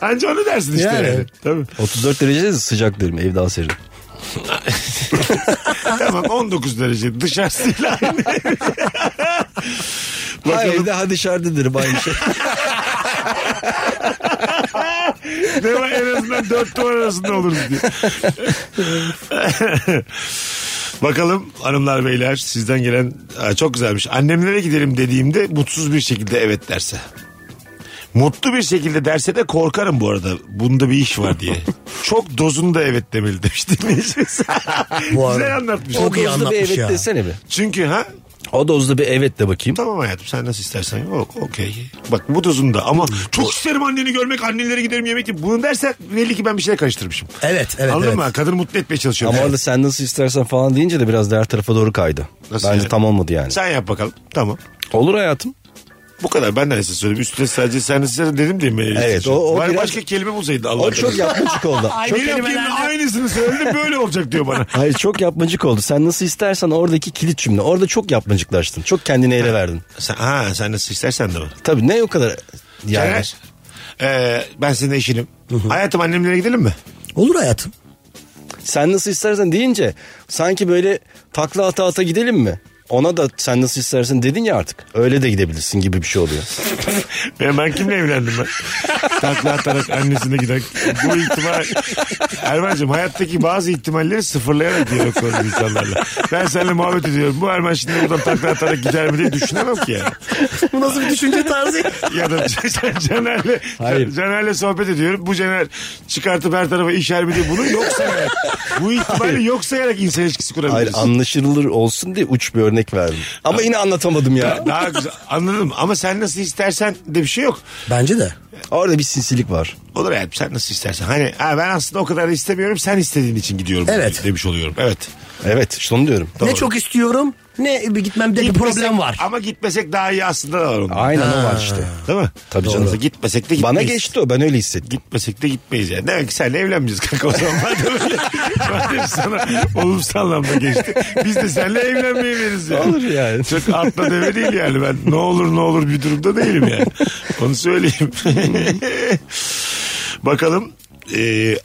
C: Anca onu dersin işte.
D: Yani.
C: Yani. Tabii.
E: 34 derece sıcak derim. Ev daha serin.
C: Tamam 19 derece dışarısıyla aynı.
E: Ha
C: Bakalım
E: evde ha dışarıda derim aynı
D: (laughs)
E: şey.
C: ne var en azından 4 duvar arasında oluruz diye. Bakalım hanımlar beyler sizden gelen Aa, çok güzelmiş. Annemlere gidelim dediğimde mutsuz bir şekilde evet derse. Mutlu bir şekilde derse de korkarım bu arada. Bunda bir iş var diye. Çok dozunda evet demeli demiş (laughs) dinleyicimiz.
D: Bu arada.
C: Güzel anlatmış.
D: Çok iyi
E: Dozda bir
D: anlatmış
E: evet
D: ya.
E: desene bir.
C: Çünkü ha
E: O dozda bir evet de bakayım.
C: Tamam hayatım sen nasıl istersen. O- Okey. Bak bu dozunda ama çok isterim anneni görmek, annelere giderim yemek gibi. Bunu dersen belli ki ben bir şeyler karıştırmışım.
D: Evet, evet,
C: Anladın
D: evet.
C: mı? Kadını mutlu etmeye çalışıyorum.
E: Ama orada sen nasıl istersen falan deyince de biraz diğer tarafa doğru kaydı.
C: Nasıl
E: Bence
C: yani?
E: tam olmadı yani.
C: Sen yap bakalım. Tamam.
E: Olur hayatım.
C: Bu kadar. Ben de size söyleyeyim. Üstüne sadece sen de size dedim diye mi?
E: Evet, o- o
C: Var-
E: biraz-
C: Başka kelime bulsaydı Allah
E: O çok yapmacık oldu.
C: Çok
E: çok,
C: Benim kelime
D: kelimelerle-
C: aynısını söyledim böyle olacak diyor
E: (laughs)
C: bana.
E: hayır çok yapmacık oldu. Sen nasıl istersen oradaki kilit cümle. Orada çok yapmacıklaştın. Çok kendini ele verdin.
C: Sen, ha sen nasıl istersen de o.
E: Tabii ne o kadar yani.
C: Caner. Ee, ben senin eşinim. Hayatım annemlere gidelim mi?
D: (laughs) Olur hayatım.
E: Sen nasıl istersen deyince sanki böyle takla ata ata gidelim mi? Ona da sen nasıl istersen dedin ya artık. Öyle de gidebilirsin gibi bir şey oluyor.
C: Ben, ben kimle evlendim ben? Takla atarak annesine giden. Bu ihtimal... Erman'cığım hayattaki bazı ihtimalleri sıfırlayarak diyalog kurdu insanlarla. Ben seninle muhabbet ediyorum. Bu Erman şimdi buradan takla atarak gider mi diye düşünemem ki yani.
D: Bu nasıl bir düşünce tarzı?
C: Ya da (laughs) Can- Caner'le,
E: Hayır.
C: Caner'le sohbet ediyorum. Bu Caner çıkartıp her tarafa işer mi diye bunu yok sayarak. Bu ihtimali yok sayarak insan ilişkisi
E: Hayır
C: kurabiliriz.
E: anlaşılır olsun diye uç bir örnek verdim. Ama yine
C: (laughs)
E: anlatamadım ya.
C: Daha güzel. Anladım ama sen nasıl istersen de bir şey yok.
D: Bence de.
E: Orada bir sinsilik var.
C: Olur yani sen nasıl istersen. Hani ha, ben aslında o kadar da istemiyorum sen istediğin için gidiyorum.
D: Evet.
C: Demiş oluyorum. Evet.
E: Evet işte onu diyorum.
D: Ne çok istiyorum ne bir gitmemde bir
C: Gitmesek-
D: problem var.
C: Ama gitmesek daha iyi aslında da var onun.
E: Aynen o var işte.
C: Değil mi?
E: Tabii
C: Doğru.
E: canım.
C: Gitmesek de gitmeyiz.
E: Bana geçti o ben öyle hissettim.
C: Gitmesek de gitmeyiz yani. Demek ki seninle evlenmeyeceğiz kanka o zaman. Madem, öyle- madem sana olumsuz anlamda geçti. Biz de seninle evlenmeyebiliriz yani.
E: Olur yani.
C: Çok atla deve değil yani ben. Ne olur ne olur bir durumda değilim yani. Onu söyleyeyim. (laughs) Bakalım. Ee,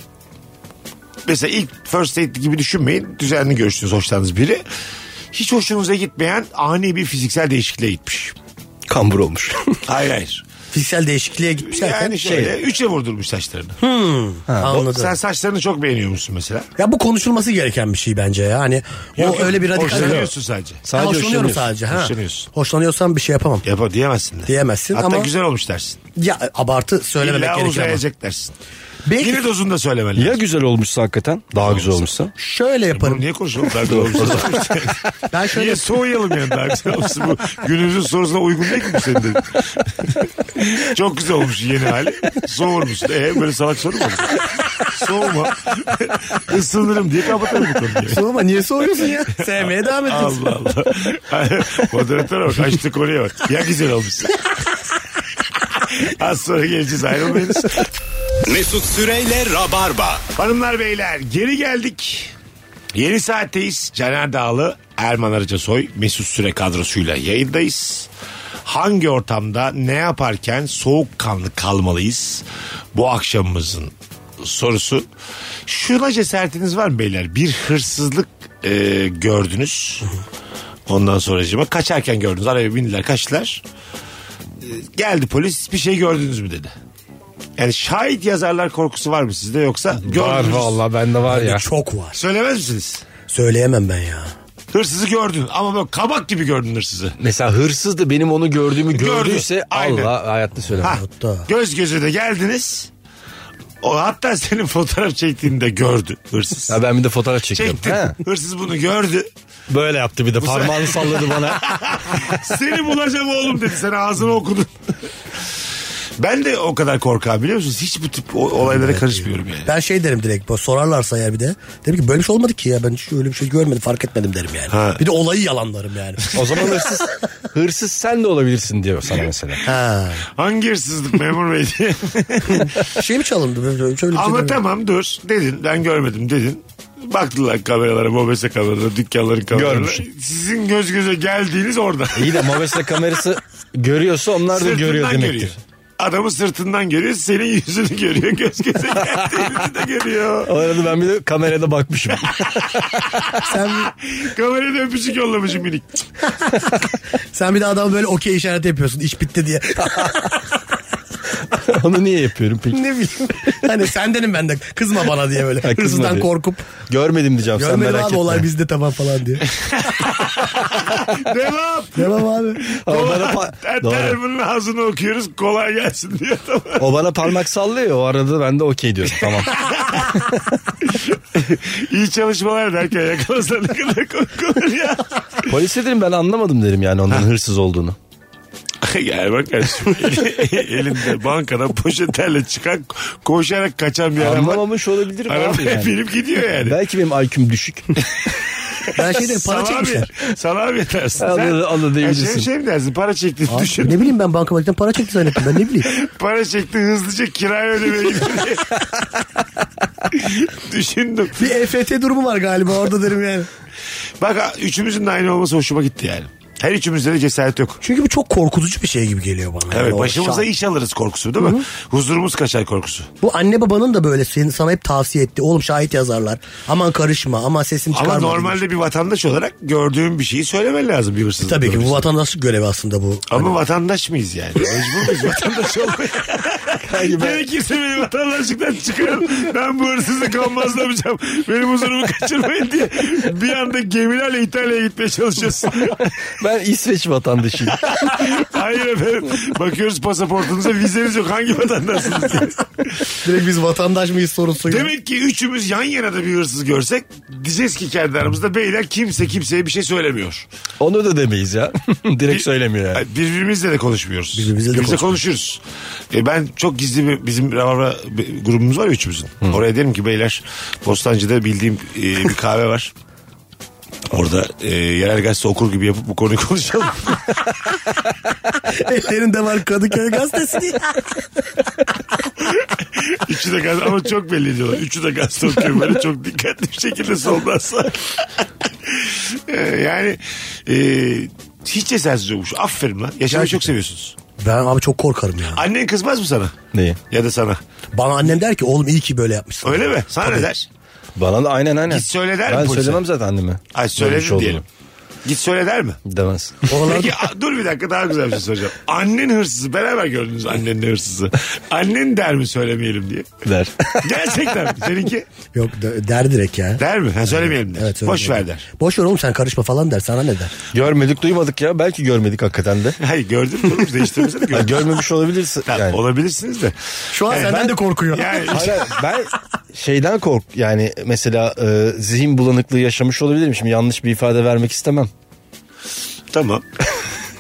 C: mesela ilk first date gibi düşünmeyin. Düzenli görüştünüz hoşlandığınız biri. Hiç hoşunuza gitmeyen ani bir fiziksel değişikliğe
E: (laughs)
C: gitmiş.
E: Kambur olmuş.
C: Hayır hayır.
D: Fiziksel değişikliğe gitmiş derken
C: Yani şöyle
E: şey-
C: üçe vurdurmuş saçlarını.
D: anladım.
C: Sen saçlarını çok beğeniyor musun mesela?
D: Ya bu konuşulması gereken bir şey bence ya. Hani o
C: Yok, yok.
D: öyle bir radikal.
C: Hoşlanıyorsun sadece.
D: Ha,
E: Sadece
D: hoşlanıyorum
E: hoşlanıyorsun.
D: sadece. Ha.
C: Hoşlanıyorsun.
D: Hoşlanıyorsam bir şey yapamam.
C: Yapa diyemezsin de.
D: Diyemezsin
C: Hatta
D: ama-
C: güzel olmuş dersin.
D: Ya abartı söylememek
C: İlla
D: gerekir ama.
C: uzayacak dersin.
D: Belki
C: Yine dozunda söylemeli.
E: (laughs) Ya güzel olmuşsa hakikaten daha güzel olmuşsa.
D: şöyle
C: Bunu
D: yaparım.
C: niye konuşalım daha güzel olmuş?
D: Ben
C: (laughs)
D: şöyle
C: niye soğuyalım yani daha güzel olmuş? Bu günümüzün sorusuna uygun değil ki bu senin de. (laughs) Çok güzel olmuş yeni hali. Soğurmuşsun. E böyle salak soru mu olur? Soğuma. (laughs) Isınırım diye kapatalım bu konuyu.
D: Sorma niye
C: (laughs)
D: soruyorsun ya? Sevmeye devam ediyorsun.
C: Allah (laughs) Allah. Moderatöre bak açtı konuya bak. Ya güzel olmuş. Az sonra geleceğiz ayrılmayınız.
B: Mesut Süreyle Rabarba.
C: Hanımlar beyler geri geldik. Yeni saatteyiz. Caner Dağlı, Erman Arıcasoy, Mesut Süre kadrosuyla yayındayız. Hangi ortamda ne yaparken soğukkanlı kalmalıyız? Bu akşamımızın sorusu. Şuna cesaretiniz var mı beyler? Bir hırsızlık e, gördünüz. Ondan sonracığıma kaçarken gördünüz. Araya bindiler kaçtılar. E, geldi polis bir şey gördünüz mü dedi. Yani şahit yazarlar korkusu var mı sizde yoksa gördünüz?
E: bende var
D: Ya. Çok var.
C: Söylemez misiniz?
D: Söyleyemem ben ya.
C: Hırsızı gördün ama böyle kabak gibi gördün hırsızı.
E: Mesela hırsız da benim onu gördüğümü gördüyse
C: Aynen.
E: Allah hayatta söylemem.
C: Ha,
D: Hatta.
C: göz göze de geldiniz. O hatta senin fotoğraf çektiğini de gördü hırsız.
E: Ya ben bir de fotoğraf çekiyorum.
C: Çekti.
E: Ha.
C: Hırsız bunu gördü.
E: Böyle yaptı bir de parmağını salladı (laughs) bana.
C: Seni bulacağım oğlum dedi. Sen ağzını okudun. ben de o kadar korkağım biliyor musunuz? Hiç bu tip o- olaylara karışmıyorum yani.
D: Ben şey derim direkt bu sorarlarsa ya bir de. Derim ki böyle bir şey olmadı ki ya ben hiç öyle bir şey görmedim fark etmedim derim yani.
C: Ha.
D: Bir de olayı yalanlarım yani.
E: (laughs) O zaman hırsız hırsız sen de olabilirsin diyor (laughs) sana mesela.
D: ha.
C: Hangi hırsızlık memur bey diye.
D: Şey mi çalındı? Böyle- böyle- Şöyle bir şey
C: Ama
D: derim.
C: tamam dur dedin ben görmedim dedin. Baktılar kameralara, mobese kameralara, dükkanların kameralarına.
E: Görmüş.
C: Sizin göz göze geldiğiniz orada.
E: İyi de Mobese kamerası görüyorsa onlar da görüyor demektir.
C: görüyor. Adamı sırtından görüyor, senin yüzünü görüyor, göz göze geldiğinizi de görüyor.
E: O arada ben bir de kamerada (laughs) bakmışım.
D: Sen,
C: Kameraya da öpücük yollamışım minik.
D: sen bir de adama böyle okey işareti yapıyorsun iş bitti diye. (laughs)
E: Onu niye yapıyorum peki?
D: ne bileyim. Hani sendenim ben de kızma bana diye böyle.
E: Ha, kızma
D: Hırsızdan
E: diye.
D: korkup.
E: Görmedim diyeceğim sen
D: Görmedim
E: merak
D: abi
E: etme.
D: olay bizde tamam falan diye.
C: Devam.
D: Devam
E: (laughs)
D: abi.
E: O bana,
C: Kolay,
E: pa- Doğru.
C: Termin'in ağzını okuyoruz, kolay gelsin diyor.
E: o bana parmak sallıyor o arada ben de okey diyorum
C: (laughs)
E: tamam.
C: İyi çalışmalar derken yakalasa ne kadar komik olur ya.
E: Polise dedim ben anlamadım derim yani onların hırsız olduğunu.
C: Gel bak kardeşim. (laughs) Elinde bankadan poşetlerle çıkan koşarak kaçan bir adam var.
E: Anlamamış olabilirim abi
C: Arabaya (laughs)
E: yani.
C: binip gidiyor yani.
E: Belki benim
C: (laughs)
E: IQ'm düşük.
D: Ben şey dedim
C: Sana
D: para çekmişler.
C: abi- Sana bir dersin.
E: Al- al- al da diyebilirsin.
C: Şey, şey mi dersin? Para çekti
D: Abi,
C: düşün.
D: ne bileyim ben bankamatikten para çekti zannettim ben ne bileyim.
C: Para çekti hızlıca kiraya ödemeye gitti.
D: (laughs)
C: Düşündüm.
D: Bir EFT durumu var galiba orada derim yani.
C: Bak üçümüzün de aynı olması hoşuma gitti yani. Her üçümüzde de cesaret yok.
D: Çünkü bu çok korkutucu bir şey gibi geliyor bana.
C: Evet
D: Yani o
C: başımıza
D: şah-
C: iş alırız korkusu değil mi? Huzurumuz kaçar korkusu.
D: Bu anne babanın da böyle seni sana hep tavsiye etti. Oğlum şahit yazarlar. Aman karışma. Aman sesini çıkarma.
C: Ama normalde bir vatandaş olarak gördüğün bir şeyi söylemen lazım bir hırsızlık.
D: Tabii ki bu Hani-
C: görüntüsü.
D: vatandaşlık görevi aslında bu.
C: Ama vatandaş mıyız
D: (laughs)
C: yani? Mecbur muyuz vatandaş olmaya? Gerekirse beni vatandaşlıktan çıkarın. Ben bu hırsızlık olmazlamayacağım. Benim huzurumu kaçırmayın diye. Bir anda gemilerle İtalya'ya gitmeye çalışıyoruz.
D: (laughs)
E: ben İsveç
C: (laughs)
E: vatandaşıyım.
C: Hayır efendim. Bakıyoruz pasaportunuza vizeniz yok. Hangi
D: (laughs)
C: vatandaşsınız diye.
D: Direkt biz vatandaş mıyız sorusu.
C: Demek ki üçümüz yan yana da bir hırsız görsek diyeceğiz ki kendi aramızda beyler kimse kimseye bir şey söylemiyor.
E: Onu da demeyiz ya. (laughs) Direkt söylemiyor yani.
C: Ay, Birbirimizle de konuşmuyoruz.
D: Birbirimizle de
C: konuşuyoruz. E ben çok gizli bir, bizim Ravarva bir grubumuz var ya üçümüzün. Oraya derim ki beyler Bostancı'da bildiğim e, bir kahve var. Orada e, yerel gazete okur gibi yapıp bu konuyu konuşalım.
D: (laughs) Ellerinde var Kadıköy gazetesi diye.
C: Üçü de gazete ama çok belli ediyorlar. Üçü de gazete okuyor böyle çok dikkatli bir şekilde soldan sağa. (laughs) E, yani e, hiç esersiz olmuş. Aferin lan. Yaşamayı çok seviyorsunuz.
D: Ben abi çok korkarım ya.
C: Annen kızmaz mı sana?
E: Neyi?
C: Ya da sana.
D: Bana annem der ki oğlum iyi ki böyle yapmışsın.
C: Öyle mi? Sana ne
D: Tabii.
C: der?
E: Bana da aynen aynen.
C: Git söyle der mi
E: Ben
C: polise?
E: söylemem zaten anneme.
C: Ay
E: Yanlış
C: söyledin
E: olduğunu.
C: diyelim. Git söyle der mi?
E: Demez.
D: Oralarda-
C: Peki a- dur bir dakika daha güzel bir şey soracağım. Annen hırsızı beraber gördünüz annenle hırsızı. Annen der mi söylemeyelim diye.
E: (laughs)
C: (laughs)
E: Der.
C: Gerçekten mi? Seninki
D: Yok de- der direkt ya.
C: der mi? Ha, söylemeyelim der.
D: Evet, öyle
C: Boş ver
D: dedi.
C: der.
D: Boş ver oğlum sen karışma falan der sana ne der.
E: görmedik duymadık ya. Belki görmedik hakikaten de.
C: Hayır gördün mü? Oğlum,
D: (laughs)
C: Değiştirmesene
E: Ya
C: gördün. (laughs)
E: görmemiş olabilirsin
C: Tamam,
E: yani.
C: Olabilirsiniz
E: (laughs)
C: de.
D: Şu an
C: Yani
D: senden
C: E, ben-
D: de korkuyor.
C: Yani
E: Hayır, hayır, ben şeyden kork yani mesela e, zihin bulanıklığı yaşamış olabilirim şimdi yanlış bir ifade vermek istemem.
C: tamam. (laughs)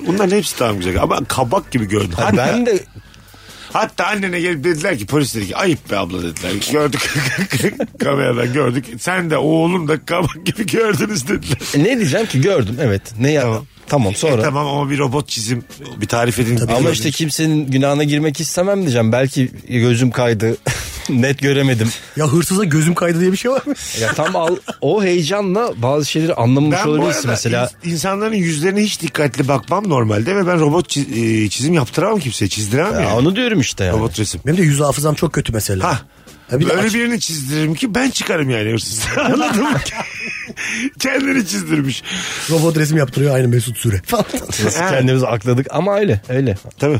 C: Bunların hepsi tamam güzel ama kabak gibi göründü.
E: Ha,
C: Hatta,
E: ben de
C: hatta annene gelip dediler ki polis dedi ki ayıp be abla dediler. Gördük (laughs) kameradan gördük. Sen de oğlum da kabak gibi gördünüz dediler.
E: e, ne diyeceğim ki gördüm evet ne ya
C: Tamam.
E: tamam, sonra
C: E, tamam ama bir robot çizim bir tarif edin.
E: ama işte kimsenin günahına girmek istemem diyeceğim belki gözüm kaydı (laughs) net göremedim
D: Ya hırsıza gözüm kaydı diye bir şey var
C: (laughs)
D: mı?
E: ya tam al, o heyecanla bazı şeyleri anlamamış
C: ben bu
E: olabilirsin
C: arada
E: mesela
C: ins- insanların yüzlerine hiç dikkatli bakmam normalde ve ben robot çi- e, çizim yaptıramam kimseye çizdiremem
E: Ya
C: yani.
E: onu diyorum işte yani.
C: Robot resim.
D: Benim de yüz hafızam çok kötü mesela.
C: Ha.
D: Ya bir de
C: Öyle
D: aç-
C: birini çizdiririm ki ben çıkarım yani hırsız. (laughs) Anladın mı? Kendini çizdirmiş.
D: Robot resim yaptırıyor aynı Mesut Süre.
E: Biz
C: Ha.
E: kendimizi akladık ama öyle öyle.
C: Tabii.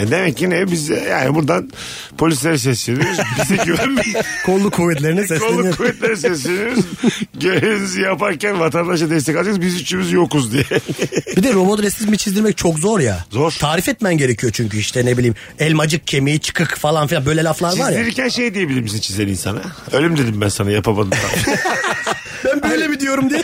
C: E demek ki ne biz yani buradan polislere sesleniyoruz. Bize
D: (laughs)
C: güvenmeyin.
D: Kolluk kuvvetlerine
C: Kolluk
D: sesleniyor.
C: kuvvetlerine sesleniyoruz. Görevinizi yaparken vatandaşa destek alacaksınız. Biz üçümüz yokuz diye.
D: Bir de robot resmi çizdirmek çok zor ya.
C: Zor.
D: Tarif etmen gerekiyor çünkü işte ne bileyim elmacık kemiği çıkık falan filan böyle laflar (laughs) var ya.
C: Çizdirirken şey diyebilir misin çizen insana? Ölüm dedim ben sana
D: (laughs)
C: yapamadım.
D: Ben böyle mi diyorum diye.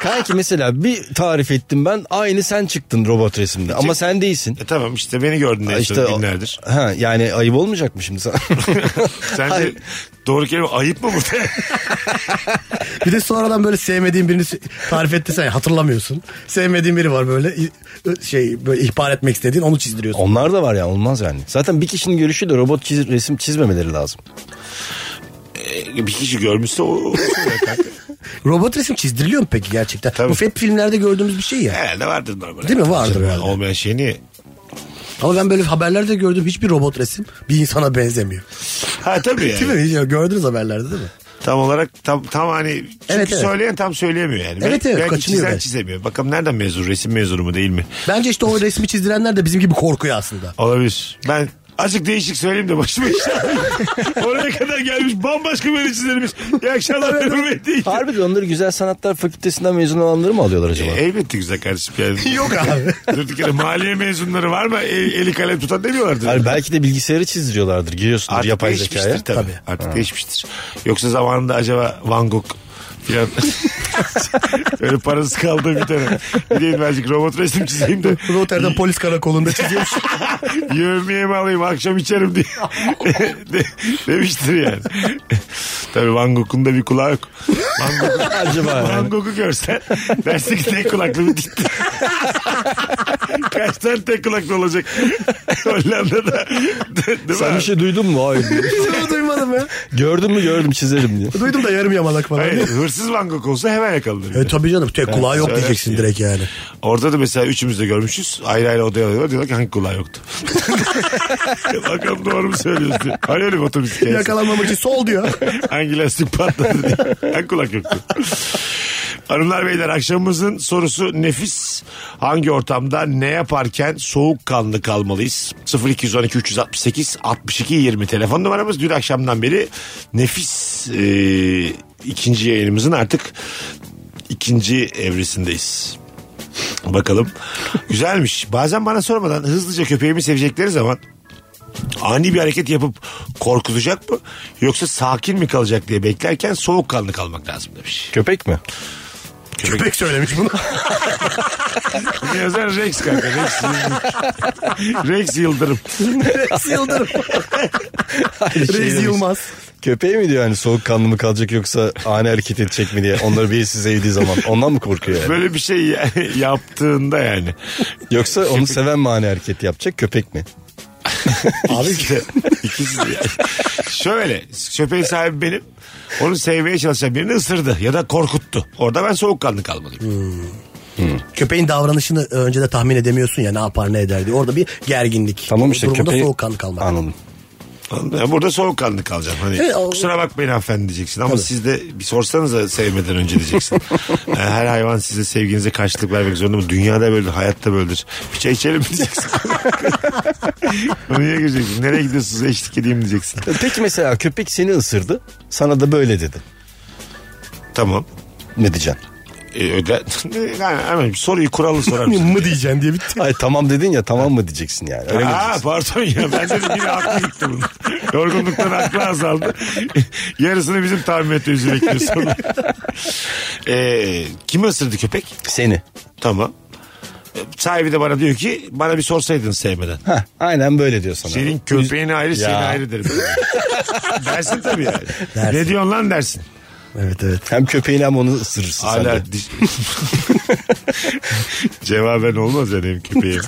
E: Kanki mesela bir tarif ettim ben aynı sen çıktın robot resimde ama sen değilsin.
C: e tamam işte beni gördün en
E: İşte
C: son
E: o-
C: günlerdir.
E: Ha, yani ayıp olmayacak
C: (laughs)
E: mı şimdi sana?
C: Sen de
E: Hayır.
C: doğru kelime ayıp mı
D: (laughs)
C: burada?
D: (laughs) Bir de sonradan böyle sevmediğin birini tarif etti sen hatırlamıyorsun. Sevmediğin biri var böyle i- şey böyle ihbar etmek istediğin onu çizdiriyorsun.
C: (laughs)
E: Onlar da var ya olmaz yani. Zaten bir kişinin görüşüyle robot çiz- resim çizmemeleri lazım.
C: e, bir kişi görmüşse o,
D: (laughs)
C: o söylüyor kanka.
D: Robot resim çizdiriliyor mu peki gerçekten?
C: Tabii.
D: Bu hep filmlerde gördüğümüz bir şey ya.
C: Herhalde vardır normal.
D: Değil mi? Vardır
C: Canım,
D: herhalde.
C: Olmayan şey niye?
D: Ama ben böyle haberlerde gördüğüm hiçbir robot resim bir insana benzemiyor.
C: Ha tabii yani.
D: Değil mi? Ya Gördünüz haberlerde değil mi?
C: Tam olarak tam tam hani çünkü
D: Evet, evet.
C: söyleyen tam söyleyemiyor yani.
D: Evet, evet,
C: belki
D: kaçınıyor
C: çizen
D: belki.
C: çizemiyor. Bakalım nereden mezun resim mezunu mu değil mi?
D: Bence işte o resmi çizdirenler de bizim gibi korkuyor aslında.
C: Olabilir. Ben azıcık değişik söyleyeyim de başıma iş
D: (laughs)
C: alayım. Oraya kadar gelmiş bambaşka böyle çizilmiş. İyi akşamlar hürmetli.
E: Harbiden onları Güzel Sanatlar Fakültesinden mezun olanları mı alıyorlar acaba?
C: E, Elbette güzel kardeşim. Yani.
D: Yok (laughs) abi.
C: Durduk yere maliye mezunları var mı? E- eli kalem tutan demiyorlardı.
E: Hayır, belki de bilgisayarı çizdiriyorlardır. Giriyorsundur
C: Artık
E: yapay
C: değişmiştir (laughs)
E: zekaya. (laughs)
C: tabii.
D: Tabii.
C: Artık değişmiştir. Yoksa zamanında acaba Van Gogh
E: (laughs)
C: filan öyle parası kaldı bir tane. Gideyim birazcık robot resim çizeyim de
D: Rotterdam polis karakolunda çiziyormuş.
C: yemeğe mi alayım akşam içerim
E: (laughs)
C: diye De- demiştir yani. Tabii Van Gogh'un da bir kulağı yok. Van Gogh'u
E: Acaba
C: Van
E: yani.
C: Gogh'u görsen dersin ki tek kulaklı bir gitti. (laughs) Kaç tane tek kulaklı olacak (laughs) Hollanda'da. De- Değil mi
E: Sen
C: abi?
E: bir şey duydun mu? Hayır.
D: Bunu duymadım ya.
E: Gördün mü gördüm çizerim diye.
D: Duydum da yarım yamalak falan.
C: Hayır, hırsız Van Gogh olsa hemen yakalanır.
D: E tabii canım tek kulağı yok
C: söylersin
D: diyeceksin
C: ya.
D: direkt yani.
C: Orada da mesela üçümüz de görmüşüz. Ayrı ayrı odaya alıyorlar. Diyorlar ki hangi kulağı yoktu? (laughs) Bakalım doğru mu söylüyorsun diye. Hani öyle bir otobüs hikayesi?
D: Yakalanmamak için
E: (laughs)
D: sol diyor.
C: (laughs) Hangi lastik patladı diye. Hangi kulak yoktu? Hanımlar beyler akşamımızın sorusu nefis. Hangi ortamda ne yaparken soğukkanlı kalmalıyız? 0212 368 62 20 telefon numaramız. Dün akşamdan beri nefis e, ikinci yayınımızın artık ikinci evresindeyiz. Bakalım. Güzelmiş. Bazen bana sormadan hızlıca köpeğimi sevecekleri zaman ani bir hareket yapıp korkulacak mı yoksa sakin mi kalacak diye beklerken soğukkanlı kalmak lazım demiş.
E: Köpek mi?
D: Köpek söylemiş bunu. (laughs)
C: Ne yazar Rex kanka Rex Yıldırım. Rex Yıldırım.
D: Rex Yıldırım.
E: Hayır, şey
D: Rex
E: demiş.
D: Yılmaz.
E: Köpeği mi diyor yani soğukkanlı mı kalacak yoksa ani hareket edecek mi diye. Onları birisi sevdiği zaman ondan mı korkuyor yani?
C: Böyle bir şey ya- yaptığında yani.
E: Yoksa onu seven mi ani hareket yapacak köpek mi?
C: Abi ikisi de yani. Şöyle köpeğin sahibi benim. Onu sevmeye çalışan birini ısırdı ya da korkuttu. Orada ben soğukkanlı kalmalıyım.
D: Köpeğin davranışını önce de tahmin edemiyorsun ya ne yapar ne eder diye. Orada bir gerginlik.
E: Tamam işte
D: Durumda
E: köpeği...
D: soğukkanlı kalmak.
E: Anladım.
C: Anladın mı? Burada soğukkanlı kalacağım. Hani
D: Evet, o-
C: kusura bakmayın hanımefendi diyeceksin ama siz de bir sorsanız da sevmeden önce
D: (laughs)
C: diyeceksin. Yani Her hayvan size sevginize karşılık vermek zorunda mı? Dünyada böyledir, hayatta böyledir. Bir çay içelim mi
D: (laughs)
C: diyeceksin. Konuya gireceksin. Nereye gidiyorsunuz eşlik edeyim diyeceksin.
E: Peki mesela köpek seni ısırdı. Sana da böyle dedi.
C: Tamam.
E: Ne diyeceksin?
C: Ee, öde... (laughs) yani hemen soruyu kuralı sorar
D: (laughs)
C: mısın?
D: mı diyeceksin diye bitti.
E: Ay tamam dedin ya tamam mı diyeceksin yani. Öyle mi
C: Aa,
E: diyeceksin?
C: pardon ya ben dedim yine aklı gitti
D: (laughs)
C: bunun. Yorgunluktan aklı azaldı. Yarısını bizim tahmin ettiğimizi bekliyor
D: (laughs)
C: sonra. Ee, kimi ısırdı köpek?
E: Seni.
C: Tamam. E, Sahibi de bana diyor ki bana bir sorsaydın sevmeden.
E: Heh, aynen böyle diyor sana.
C: Senin köpeğin ayrı senin
E: Ya.
C: ayrı (laughs) derim. dersin tabii yani. Ne diyorsun lan dersin.
D: Evet evet.
E: Hem köpeğini hem onu ısırırsın sen de.
C: Hala diş... (laughs) Cevaben olmaz yani benim köpeğim.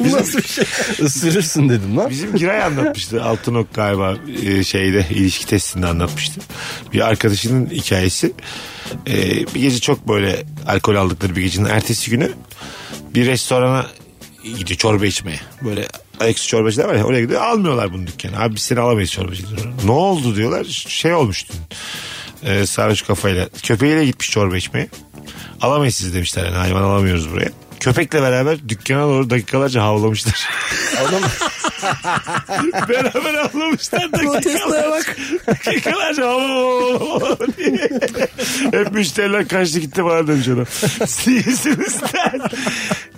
D: Nasıl bir şey?
E: Isırırsın dedim lan.
C: Bizim Giray anlatmıştı. Altınok galiba e, şeyde ilişki testinde anlatmıştı. Bir arkadaşının hikayesi. E, bir gece çok böyle alkol aldıkları bir gecenin ertesi günü bir restorana gidiyor çorba içmeye. Böyle ayaküstü çorbacılar var ya oraya gidiyor. Almıyorlar bunu dükkanı. Abi biz seni alamayız çorbacılar. Ne oldu diyorlar. Şey olmuş dün. E, sarhoş kafayla. Köpeğiyle gitmiş çorba içmeye. Alamayız sizi demişler. Yani hayvan alamıyoruz buraya. Köpekle beraber dükkana doğru dakikalarca havlamışlar. (laughs) Beraber avlamışlar
D: Protestoya bak.
C: dakikalarca "Oo!" diye. Hep müşteriler kaçtı gitti bana dönüş adam. Sizsiniz lan.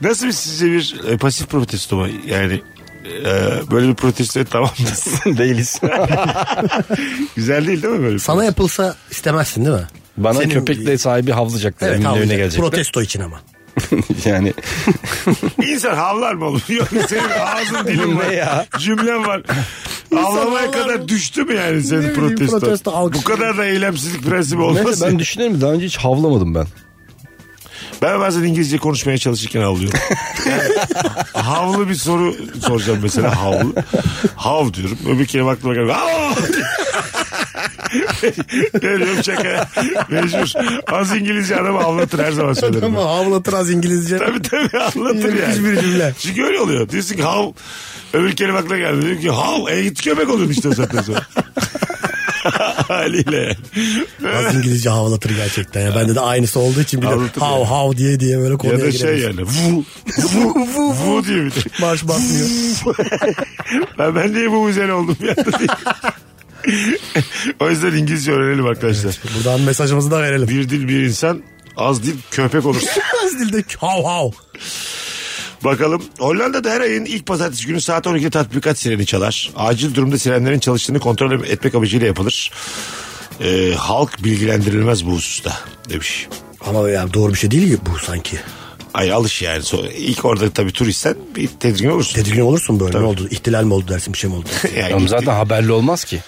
C: Nasıl bir sizce bir e, pasif protesto mu? Yani e, böyle bir protestoya tamam
D: (laughs)
C: mısın?
E: (laughs) Değiliz.
C: Güzel değil değil mi böyle? bir
D: Sana yapılsa istemezsin değil mi?
E: Bana
D: Senin-
E: köpekle sahibi havlayacaklar.
D: Evet
E: Evimin
D: tamam.
E: önüne gelecekler.
D: Protesto için ama.
E: (laughs) yani
C: Bir İnsan havlar mı oğlum? (laughs) Yok senin ağzın dilin
E: Ne
C: var.
E: ya?
C: Cümlen
D: (laughs)
C: var. Avlamaya
D: havlar
C: kadar
D: mı?
C: düştü mü yani
D: bileyim,
C: senin protesto?
D: protesto alkış.
C: Bu kadar da eylemsizlik prensibi olmaz.
E: Neyse
C: Ben,
E: ben düşünüyorum daha önce hiç havlamadım ben.
C: ben bazen İngilizce konuşmaya çalışırken havlıyorum. Yani havlu bir soru soracağım mesela havlu. Hav (laughs) diyorum. Öbür kelime aklıma gelmiyor. Hav! Ne diyorum şaka. Mecbur. Az İngilizce adamı avlatır her zaman söylerim. ben.
D: Ama havlatır az İngilizce.
C: Tabii tabii anlatır
D: Müthiş
C: yani.
D: bir cümle.
C: Çünkü öyle oluyor. Diyorsun ki hav. Öbür kelime aklına geldi. Diyor ki hav. E git köpek oluyorsun işte o saatten sonra. (laughs) Haliyle.
D: Az İngilizce havlatır gerçekten ya. Bende de aynısı olduğu için bir de
C: Havlatır
D: how
C: yani.
D: how diye diye böyle konuya
C: ya da şey
D: gireriz.
C: yani. Vu. (laughs) Vu. vu, vu diyor bir de.
D: Marş basmıyor.
C: (laughs) ben, ben niye bu güzel oldum ya? (laughs) o yüzden İngilizce öğrenelim arkadaşlar.
D: Buradan mesajımızı
C: (laughs)
D: da verelim.
C: Bir dil bir insan az dil köpek olursun.
D: Az dilde how how.
C: Bakalım. Hollanda'da her ayın ilk pazartesi günü saat 12'de tatbikat sireni çalar. Acil durumda sirenlerin çalıştığını kontrol etmek amacıyla yapılır. Ee, halk bilgilendirilmez bu hususta demiş.
D: Ama yani doğru bir şey değil ki bu sanki.
C: Ay alış yani. So- İlk orada tabii turistsen bir tedirgin olursun.
D: Tedirgin olursun böyle ne oldu? İhtilal mi oldu dersin bir şey mi oldu?
C: Yani
E: Oğlum
C: E, gitti-
E: zaten haberli olmaz ki.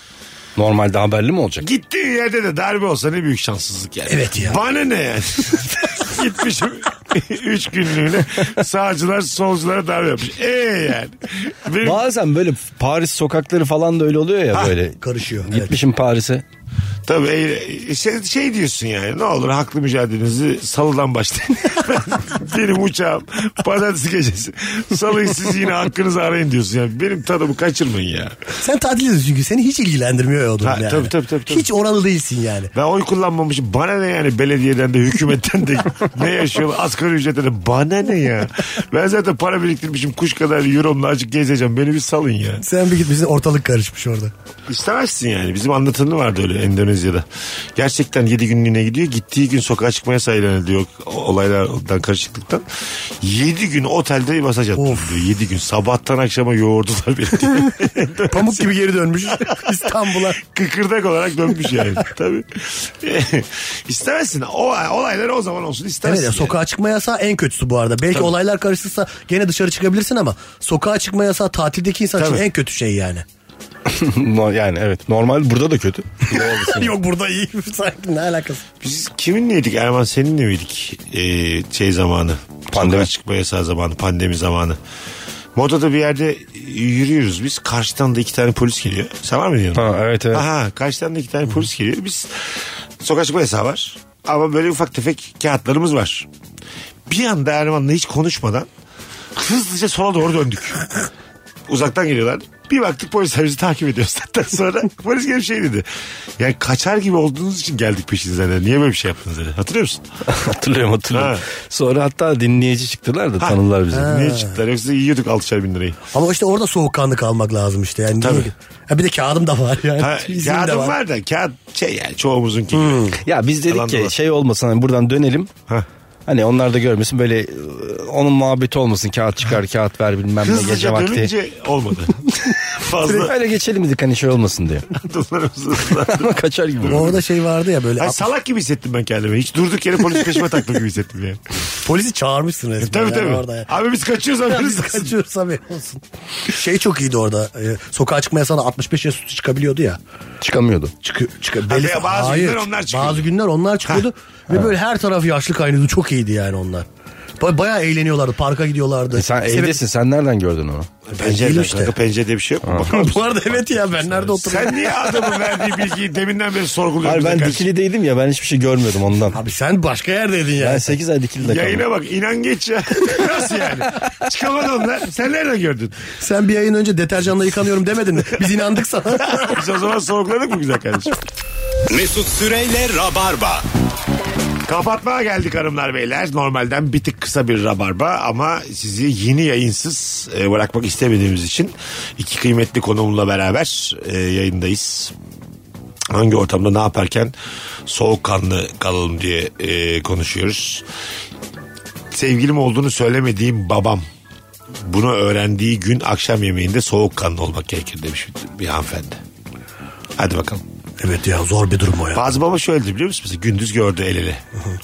E: Normalde haberli mi olacak?
C: Gittiğin yerde de darbe olsa ne büyük şanssızlık yani.
D: Evet ya.
C: Bana ne yani? (laughs) Gitmişim üç günlüğüne sağcılar solculara darbe yapmış. Ee yani. Benim
E: Bazen böyle Paris sokakları falan da öyle oluyor ya böyle.
D: (laughs) Karışıyor. Evet.
E: Gitmişim Paris'e.
C: Tabii e, şey, şey diyorsun yani ne olur haklı mücadelenizi salıdan başlayın. (laughs) benim uçağım pazartesi gecesi. Salıyı siz yine hakkınızı arayın diyorsun yani. Benim tadımı kaçırmayın ya.
D: Sen tatil ediyorsun çünkü seni hiç ilgilendirmiyor ya o durum
C: Ha,
D: yani.
C: tabii, tabii, tabii, tabii.
D: Hiç oralı değilsin yani.
C: Ben oy kullanmamışım. Bana ne yani belediyeden de hükümetten de ne yaşıyorlar asgari ücretten de bana ne ya. Ben zaten para biriktirmişim kuş kadar euromla azıcık gezeceğim. Beni bir salın ya.
D: Sen bir gitmişsin ortalık karışmış orada.
C: (laughs) İstemezsin yani. Bizim anlatanı vardı öyle Endonezya'da. Gerçekten 7 günlüğüne gidiyor. Gittiği gün sokağa çıkmaya sayılan diyor olaylardan karışıklıktan. 7 gün otelde masaj attım
D: Of.
C: diyor. 7 gün sabahtan akşama yoğurdular
D: (laughs)
C: beni diyor.
D: Pamuk gibi geri dönmüş (laughs) İstanbul'a.
C: Kıkırdak olarak dönmüş yani. Tabii. (laughs) istemezsin. O, olaylar o zaman olsun
D: Evet
C: istemezsin.
D: ya, sokağa çıkma yasağı en kötüsü bu arada. Belki olaylar karışırsa gene dışarı çıkabilirsin ama sokağa çıkma yasağı tatildeki insan
C: Tabii.
D: için en kötü
C: (laughs)
D: şey yani.
E: No- yani evet normal burada da kötü. (laughs)
D: Yok
C: (laughs)
D: burada iyi sanki ne alakası.
C: Biz kiminle yedik Erman seninle miydik ee, şey zamanı?
E: Pandemi.
C: Sokağa çıkma yasağı zamanı pandemi zamanı. Moda'da bir yerde yürüyoruz biz. Karşıdan da iki tane polis geliyor. Sen var mıydın yanında?
E: Ha, evet evet.
C: Aha karşıdan da iki tane polis geliyor. Biz sokağa çıkma yasağı var. Ama böyle ufak tefek kağıtlarımız var. Bir anda Erman'la hiç konuşmadan hızlıca sola doğru döndük. Uzaktan geliyorlar. Bir baktık polisler bizi takip ediyor. Zaten (laughs) sonra polis gelip şey dedi. Yani kaçar gibi olduğunuz için geldik peşinizden. dedi. Niye böyle bir şey yaptınız dedi. Hatırlıyor musun?
E: hatırlıyorum hatırlıyorum.
C: Ha.
E: Sonra hatta dinleyici çıktılar da tanıdılar bizi.
C: Niye çıktılar? Yoksa yiyorduk altışar bin lirayı.
D: Ama işte orada soğukkanlı kalmak lazım işte. Yani niye-
C: Tabii.
D: Ha bir de kağıdım da var yani. (laughs)
C: Ha,
D: İznim de
C: kağıdım var. da kağıt şey yani çoğumuzunki gibi.
E: Ya biz
C: Yalan
E: dedik ki
C: dolan.
E: şey olmasın hani buradan dönelim.
C: Ha.
E: Hani onlar da görmesin böyle e, onun muhabbeti olmasın kağıt çıkar kağıt ver bilmem ne gece
C: Hızlıca
E: vakti.
C: dönünce olmadı.
D: (laughs)
E: Direkt
C: Fazla
E: Öyle geçelim dedik hani şey
C: (laughs)
E: olmasın diye.
C: dolarımızı
D: (laughs)
C: ıslandı.
E: Ama kaçar gibi.
D: Orada şey vardı ya böyle
C: Ay
D: a-
C: salak gibi hissettim ben kendimi. Hiç durduk yere polis peşime taktı gibi hissettim
D: (laughs)
C: yani.
D: polisi çağırmışsın resmen.
C: Tabii
D: yani
C: tabii.
D: Orada ya.
C: Abi biz kaçıyoruz
D: Ya
C: haberiniz
D: Biz
C: olsun.
D: kaçıyoruz haberin olsun. Şey çok iyiydi orada. Ee, sokağa çıkma yasağına 65 yaş üstü çıkabiliyordu ya.
E: Çıkamıyordu.
D: Çıkı, çıkı,
C: veya bazı günler onlar çıkıyordu.
D: Bazı günler onlar çıkıyordu. Ve böyle her taraf yaşlı kaynıyordu. Çok iyiydi yani onlar. Ba- bayağı eğleniyorlardı. Parka gidiyorlardı.
E: E sen
D: Sebep-
E: evdesin sen nereden gördün onu?
D: Değil
C: Pencereden
D: işte.
C: kanka pencere diye bir şey yok mu? Bakar mısın?
D: Bu arada evet ya ben nerede oturuyorum?
C: Sen niye adamın verdiği bilgiyi deminden beri sorguluyorsun?
E: Hayır ben
C: bize karşı?
E: dikilideydim ya ben hiçbir şey görmüyordum ondan.
D: Abi sen başka yerdeydin ya.
E: Ben 8 ay dikilide kaldım.
C: Yayına bak inan geç ya. (laughs) Nasıl yani? Çıkamadı onlar. Sen nereden gördün? (laughs)
D: Sen bir yayın önce deterjanla yıkanıyorum demedin mi? Biz inandık sana.
C: Biz o zaman sorguladık mı güzel kardeşim?
B: Mesut Süreyle Rabarba.
C: Kapatmaya geldik hanımlar beyler. Normalden bir tık kısa bir rabarba ama sizi yeni yayınsız e, bırakmak istemediğimiz için iki kıymetli konuğumla beraber e, yayındayız. Hangi ortamda ne yaparken soğukkanlı kalalım diye e, konuşuyoruz. Sevgilim olduğunu söylemediğim babam bunu öğrendiği gün akşam yemeğinde soğukkanlı olmak gerekir demiş bir, bir hanımefendi. Hadi bakalım.
D: (laughs) evet ya zor bir durum o ya.
C: Bazı baba şöyledir biliyor musun? Mesela gündüz gördü el ele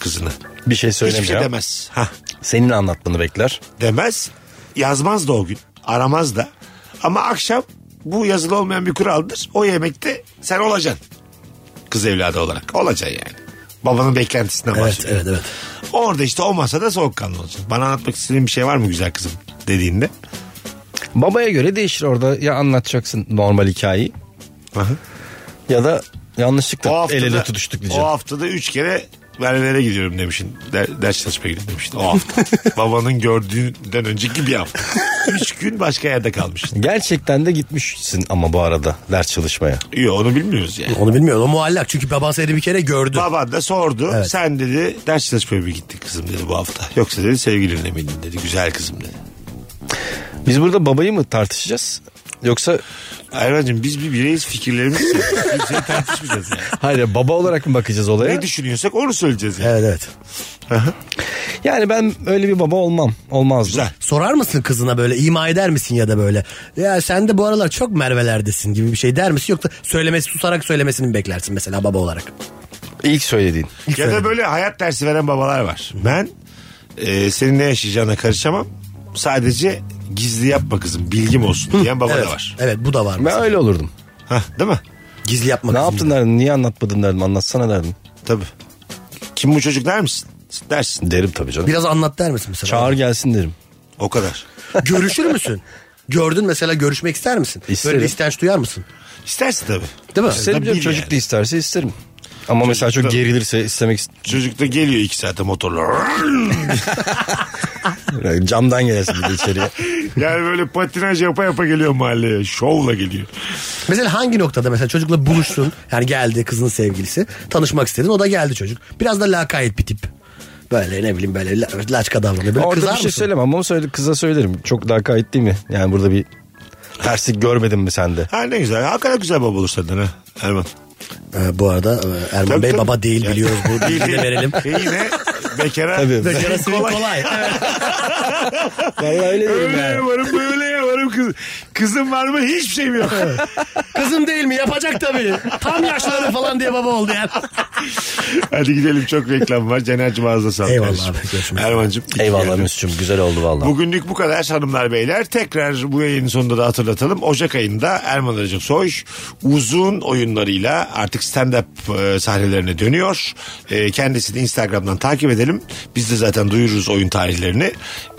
C: kızını.
E: Bir şey
C: Hiçbir şey
E: söylemiyor.
C: demez. Hah,
E: Senin anlatmanı bekler.
C: demez. Yazmaz da o gün. Aramaz da. Ama akşam bu yazılı olmayan bir kuraldır. O yemekte sen olacaksın. Kız evladı olarak. Olacaksın yani. Babanın beklentisinden
D: Evet
C: başlıyor.
D: evet evet.
C: Orada işte o masada soğukkanlı olacaksın. Bana anlatmak istediğin bir şey var mı güzel kızım dediğinde.
E: Babaya göre değişir orada ya anlatacaksın normal hikayeyi
C: Aha.
E: ya da Yanlışlıkla
C: O haftada,
E: el ele tutuştuk
C: O
E: diyeceğim.
C: haftada üç kere Berlin'e gidiyorum demişsin. Der, ders çalışmaya gidiyorum demişsin. O
E: (laughs)
C: hafta. Babanın gördüğünden önceki bir hafta. Üç gün başka yerde kalmışsın.
E: Gerçekten de gitmişsin ama bu arada ders çalışmaya.
C: İyi onu bilmiyoruz yani.
D: Onu bilmiyorum o muallak çünkü baban seni bir kere gördü.
C: Baban da sordu.
D: Evet.
C: Sen dedi ders çalışmaya mı gittin kızım dedi bu hafta. Yoksa dedi sevgilinle miydin dedi. Güzel kızım dedi.
E: Biz burada babayı mı tartışacağız? Yoksa
C: Erman'cığım biz bir bireyiz fikirlerimiz.
D: (laughs)
C: Kimseyi tartışmayacağız yani.
E: (laughs) hayır baba olarak mı bakacağız olaya?
C: Ne düşünüyorsak onu söyleyeceğiz yani.
D: Evet evet.
E: Yani ben öyle bir baba olmam. Olmazdı.
C: Güzel.
D: Sorar mısın kızına böyle ima eder misin ya da böyle ya sen de bu aralar çok mervelerdesin gibi bir şey der misin yoksa söylemesi susarak söylemesini mi beklersin mesela baba olarak?
E: İlk söylediğin.
C: Ya da böyle hayat dersi veren babalar var. Ben e, senin ne yaşayacağına karışamam. Sadece gizli yapma kızım bilgim olsun diyen baba
D: evet.
C: da var.
D: Evet bu da var.
E: Ben
D: mesela.
E: öyle olurdum.
C: Hah, değil mi?
D: Gizli yapmak.
E: Ne yaptın derdim? Niye anlatmadın derdim? Anlatsana derdim.
C: Tabii. Kim bu çocuk der misin? Dersin.
E: Derim tabii canım.
D: Biraz anlat der misin mesela?
E: Çağır gelsin derim.
C: O kadar.
D: Görüşür müsün? Gördün mesela görüşmek ister misin?
E: İsterim.
D: Böyle bir istenç duyar mısın?
C: İstersin tabii.
D: Değil mi?
E: İsterim
C: bil
E: canım, çocuk
C: yani.
E: da isterse isterim. Ama mesela çok
C: da-
E: gerilirse istemek ist- (laughs)
C: Çocuk da geliyor iki saate motorla.
E: Yani camdan gelirsin bir de içeriye.
C: yani böyle patinaj yapa yapa geliyor mahalleye. Şovla geliyor.
D: Mesela hangi noktada mesela çocukla buluştun yani geldi kızın sevgilisi tanışmak istedin o da geldi çocuk. Biraz da lakayt bir tip. Böyle ne bileyim böyle la- laçka davranıyor. Böyle
E: Orada
D: kızar
E: bir şey
D: mısın?
E: söylemem ama söyle, kıza söylerim. Çok daha kayıt değil mi? Yani burada bir terslik görmedin mi sende?
C: Ha ne güzel. Hakikaten güzel baba olur senden ha. Erman.
D: Ee, bu arada e, Erman
C: Tabii,
D: Bey
C: tabii.
D: baba değil biliyoruz bu
C: Değil,
D: bilgiyi
C: değil.
D: de
E: (laughs)
D: verelim.
C: E yine bekara.
E: Tabii.
D: Bekara suyu
C: kolay.
D: kolay. Evet.
E: Vallahi öyle
C: Öyle yaparım böyle yaparım kız. Kızım var mı hiçbir şeyim yok.
D: Kızım değil mi? Yapacak tabii. Tam yaşları falan diye baba oldu yani.
C: Hadi gidelim çok reklam var. Cener'cim ağzına sağlık.
D: Eyvallah
C: kardeşim.
D: abi, görüşmek üzere.
C: Erman'cım. iyi ki
E: Eyvallah
C: geldin.
E: Mesut'cum güzel oldu vallahi.
C: Bugünlük bu kadar hanımlar beyler. Tekrar bu yayının sonunda da hatırlatalım. Ocak ayında Erman Arıcık Soy uzun oyunlarıyla artık stand-up e, sahnelerine dönüyor. E, kendisini Instagram'dan takip edelim. Biz de zaten duyururuz oyun tarihlerini.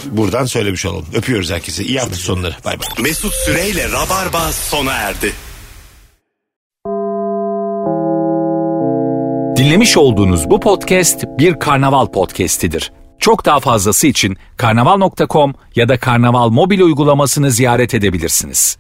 C: Buradan söylemiş olalım. Öpüyoruz herkese. İyi hafta sonları. Bay bay.
B: Mesut Süreyle Rabarba sona erdi.
A: Dinlemiş olduğunuz bu podcast bir karnaval podcastidir. Çok daha fazlası için karnaval.com ya da karnaval mobil uygulamasını ziyaret edebilirsiniz.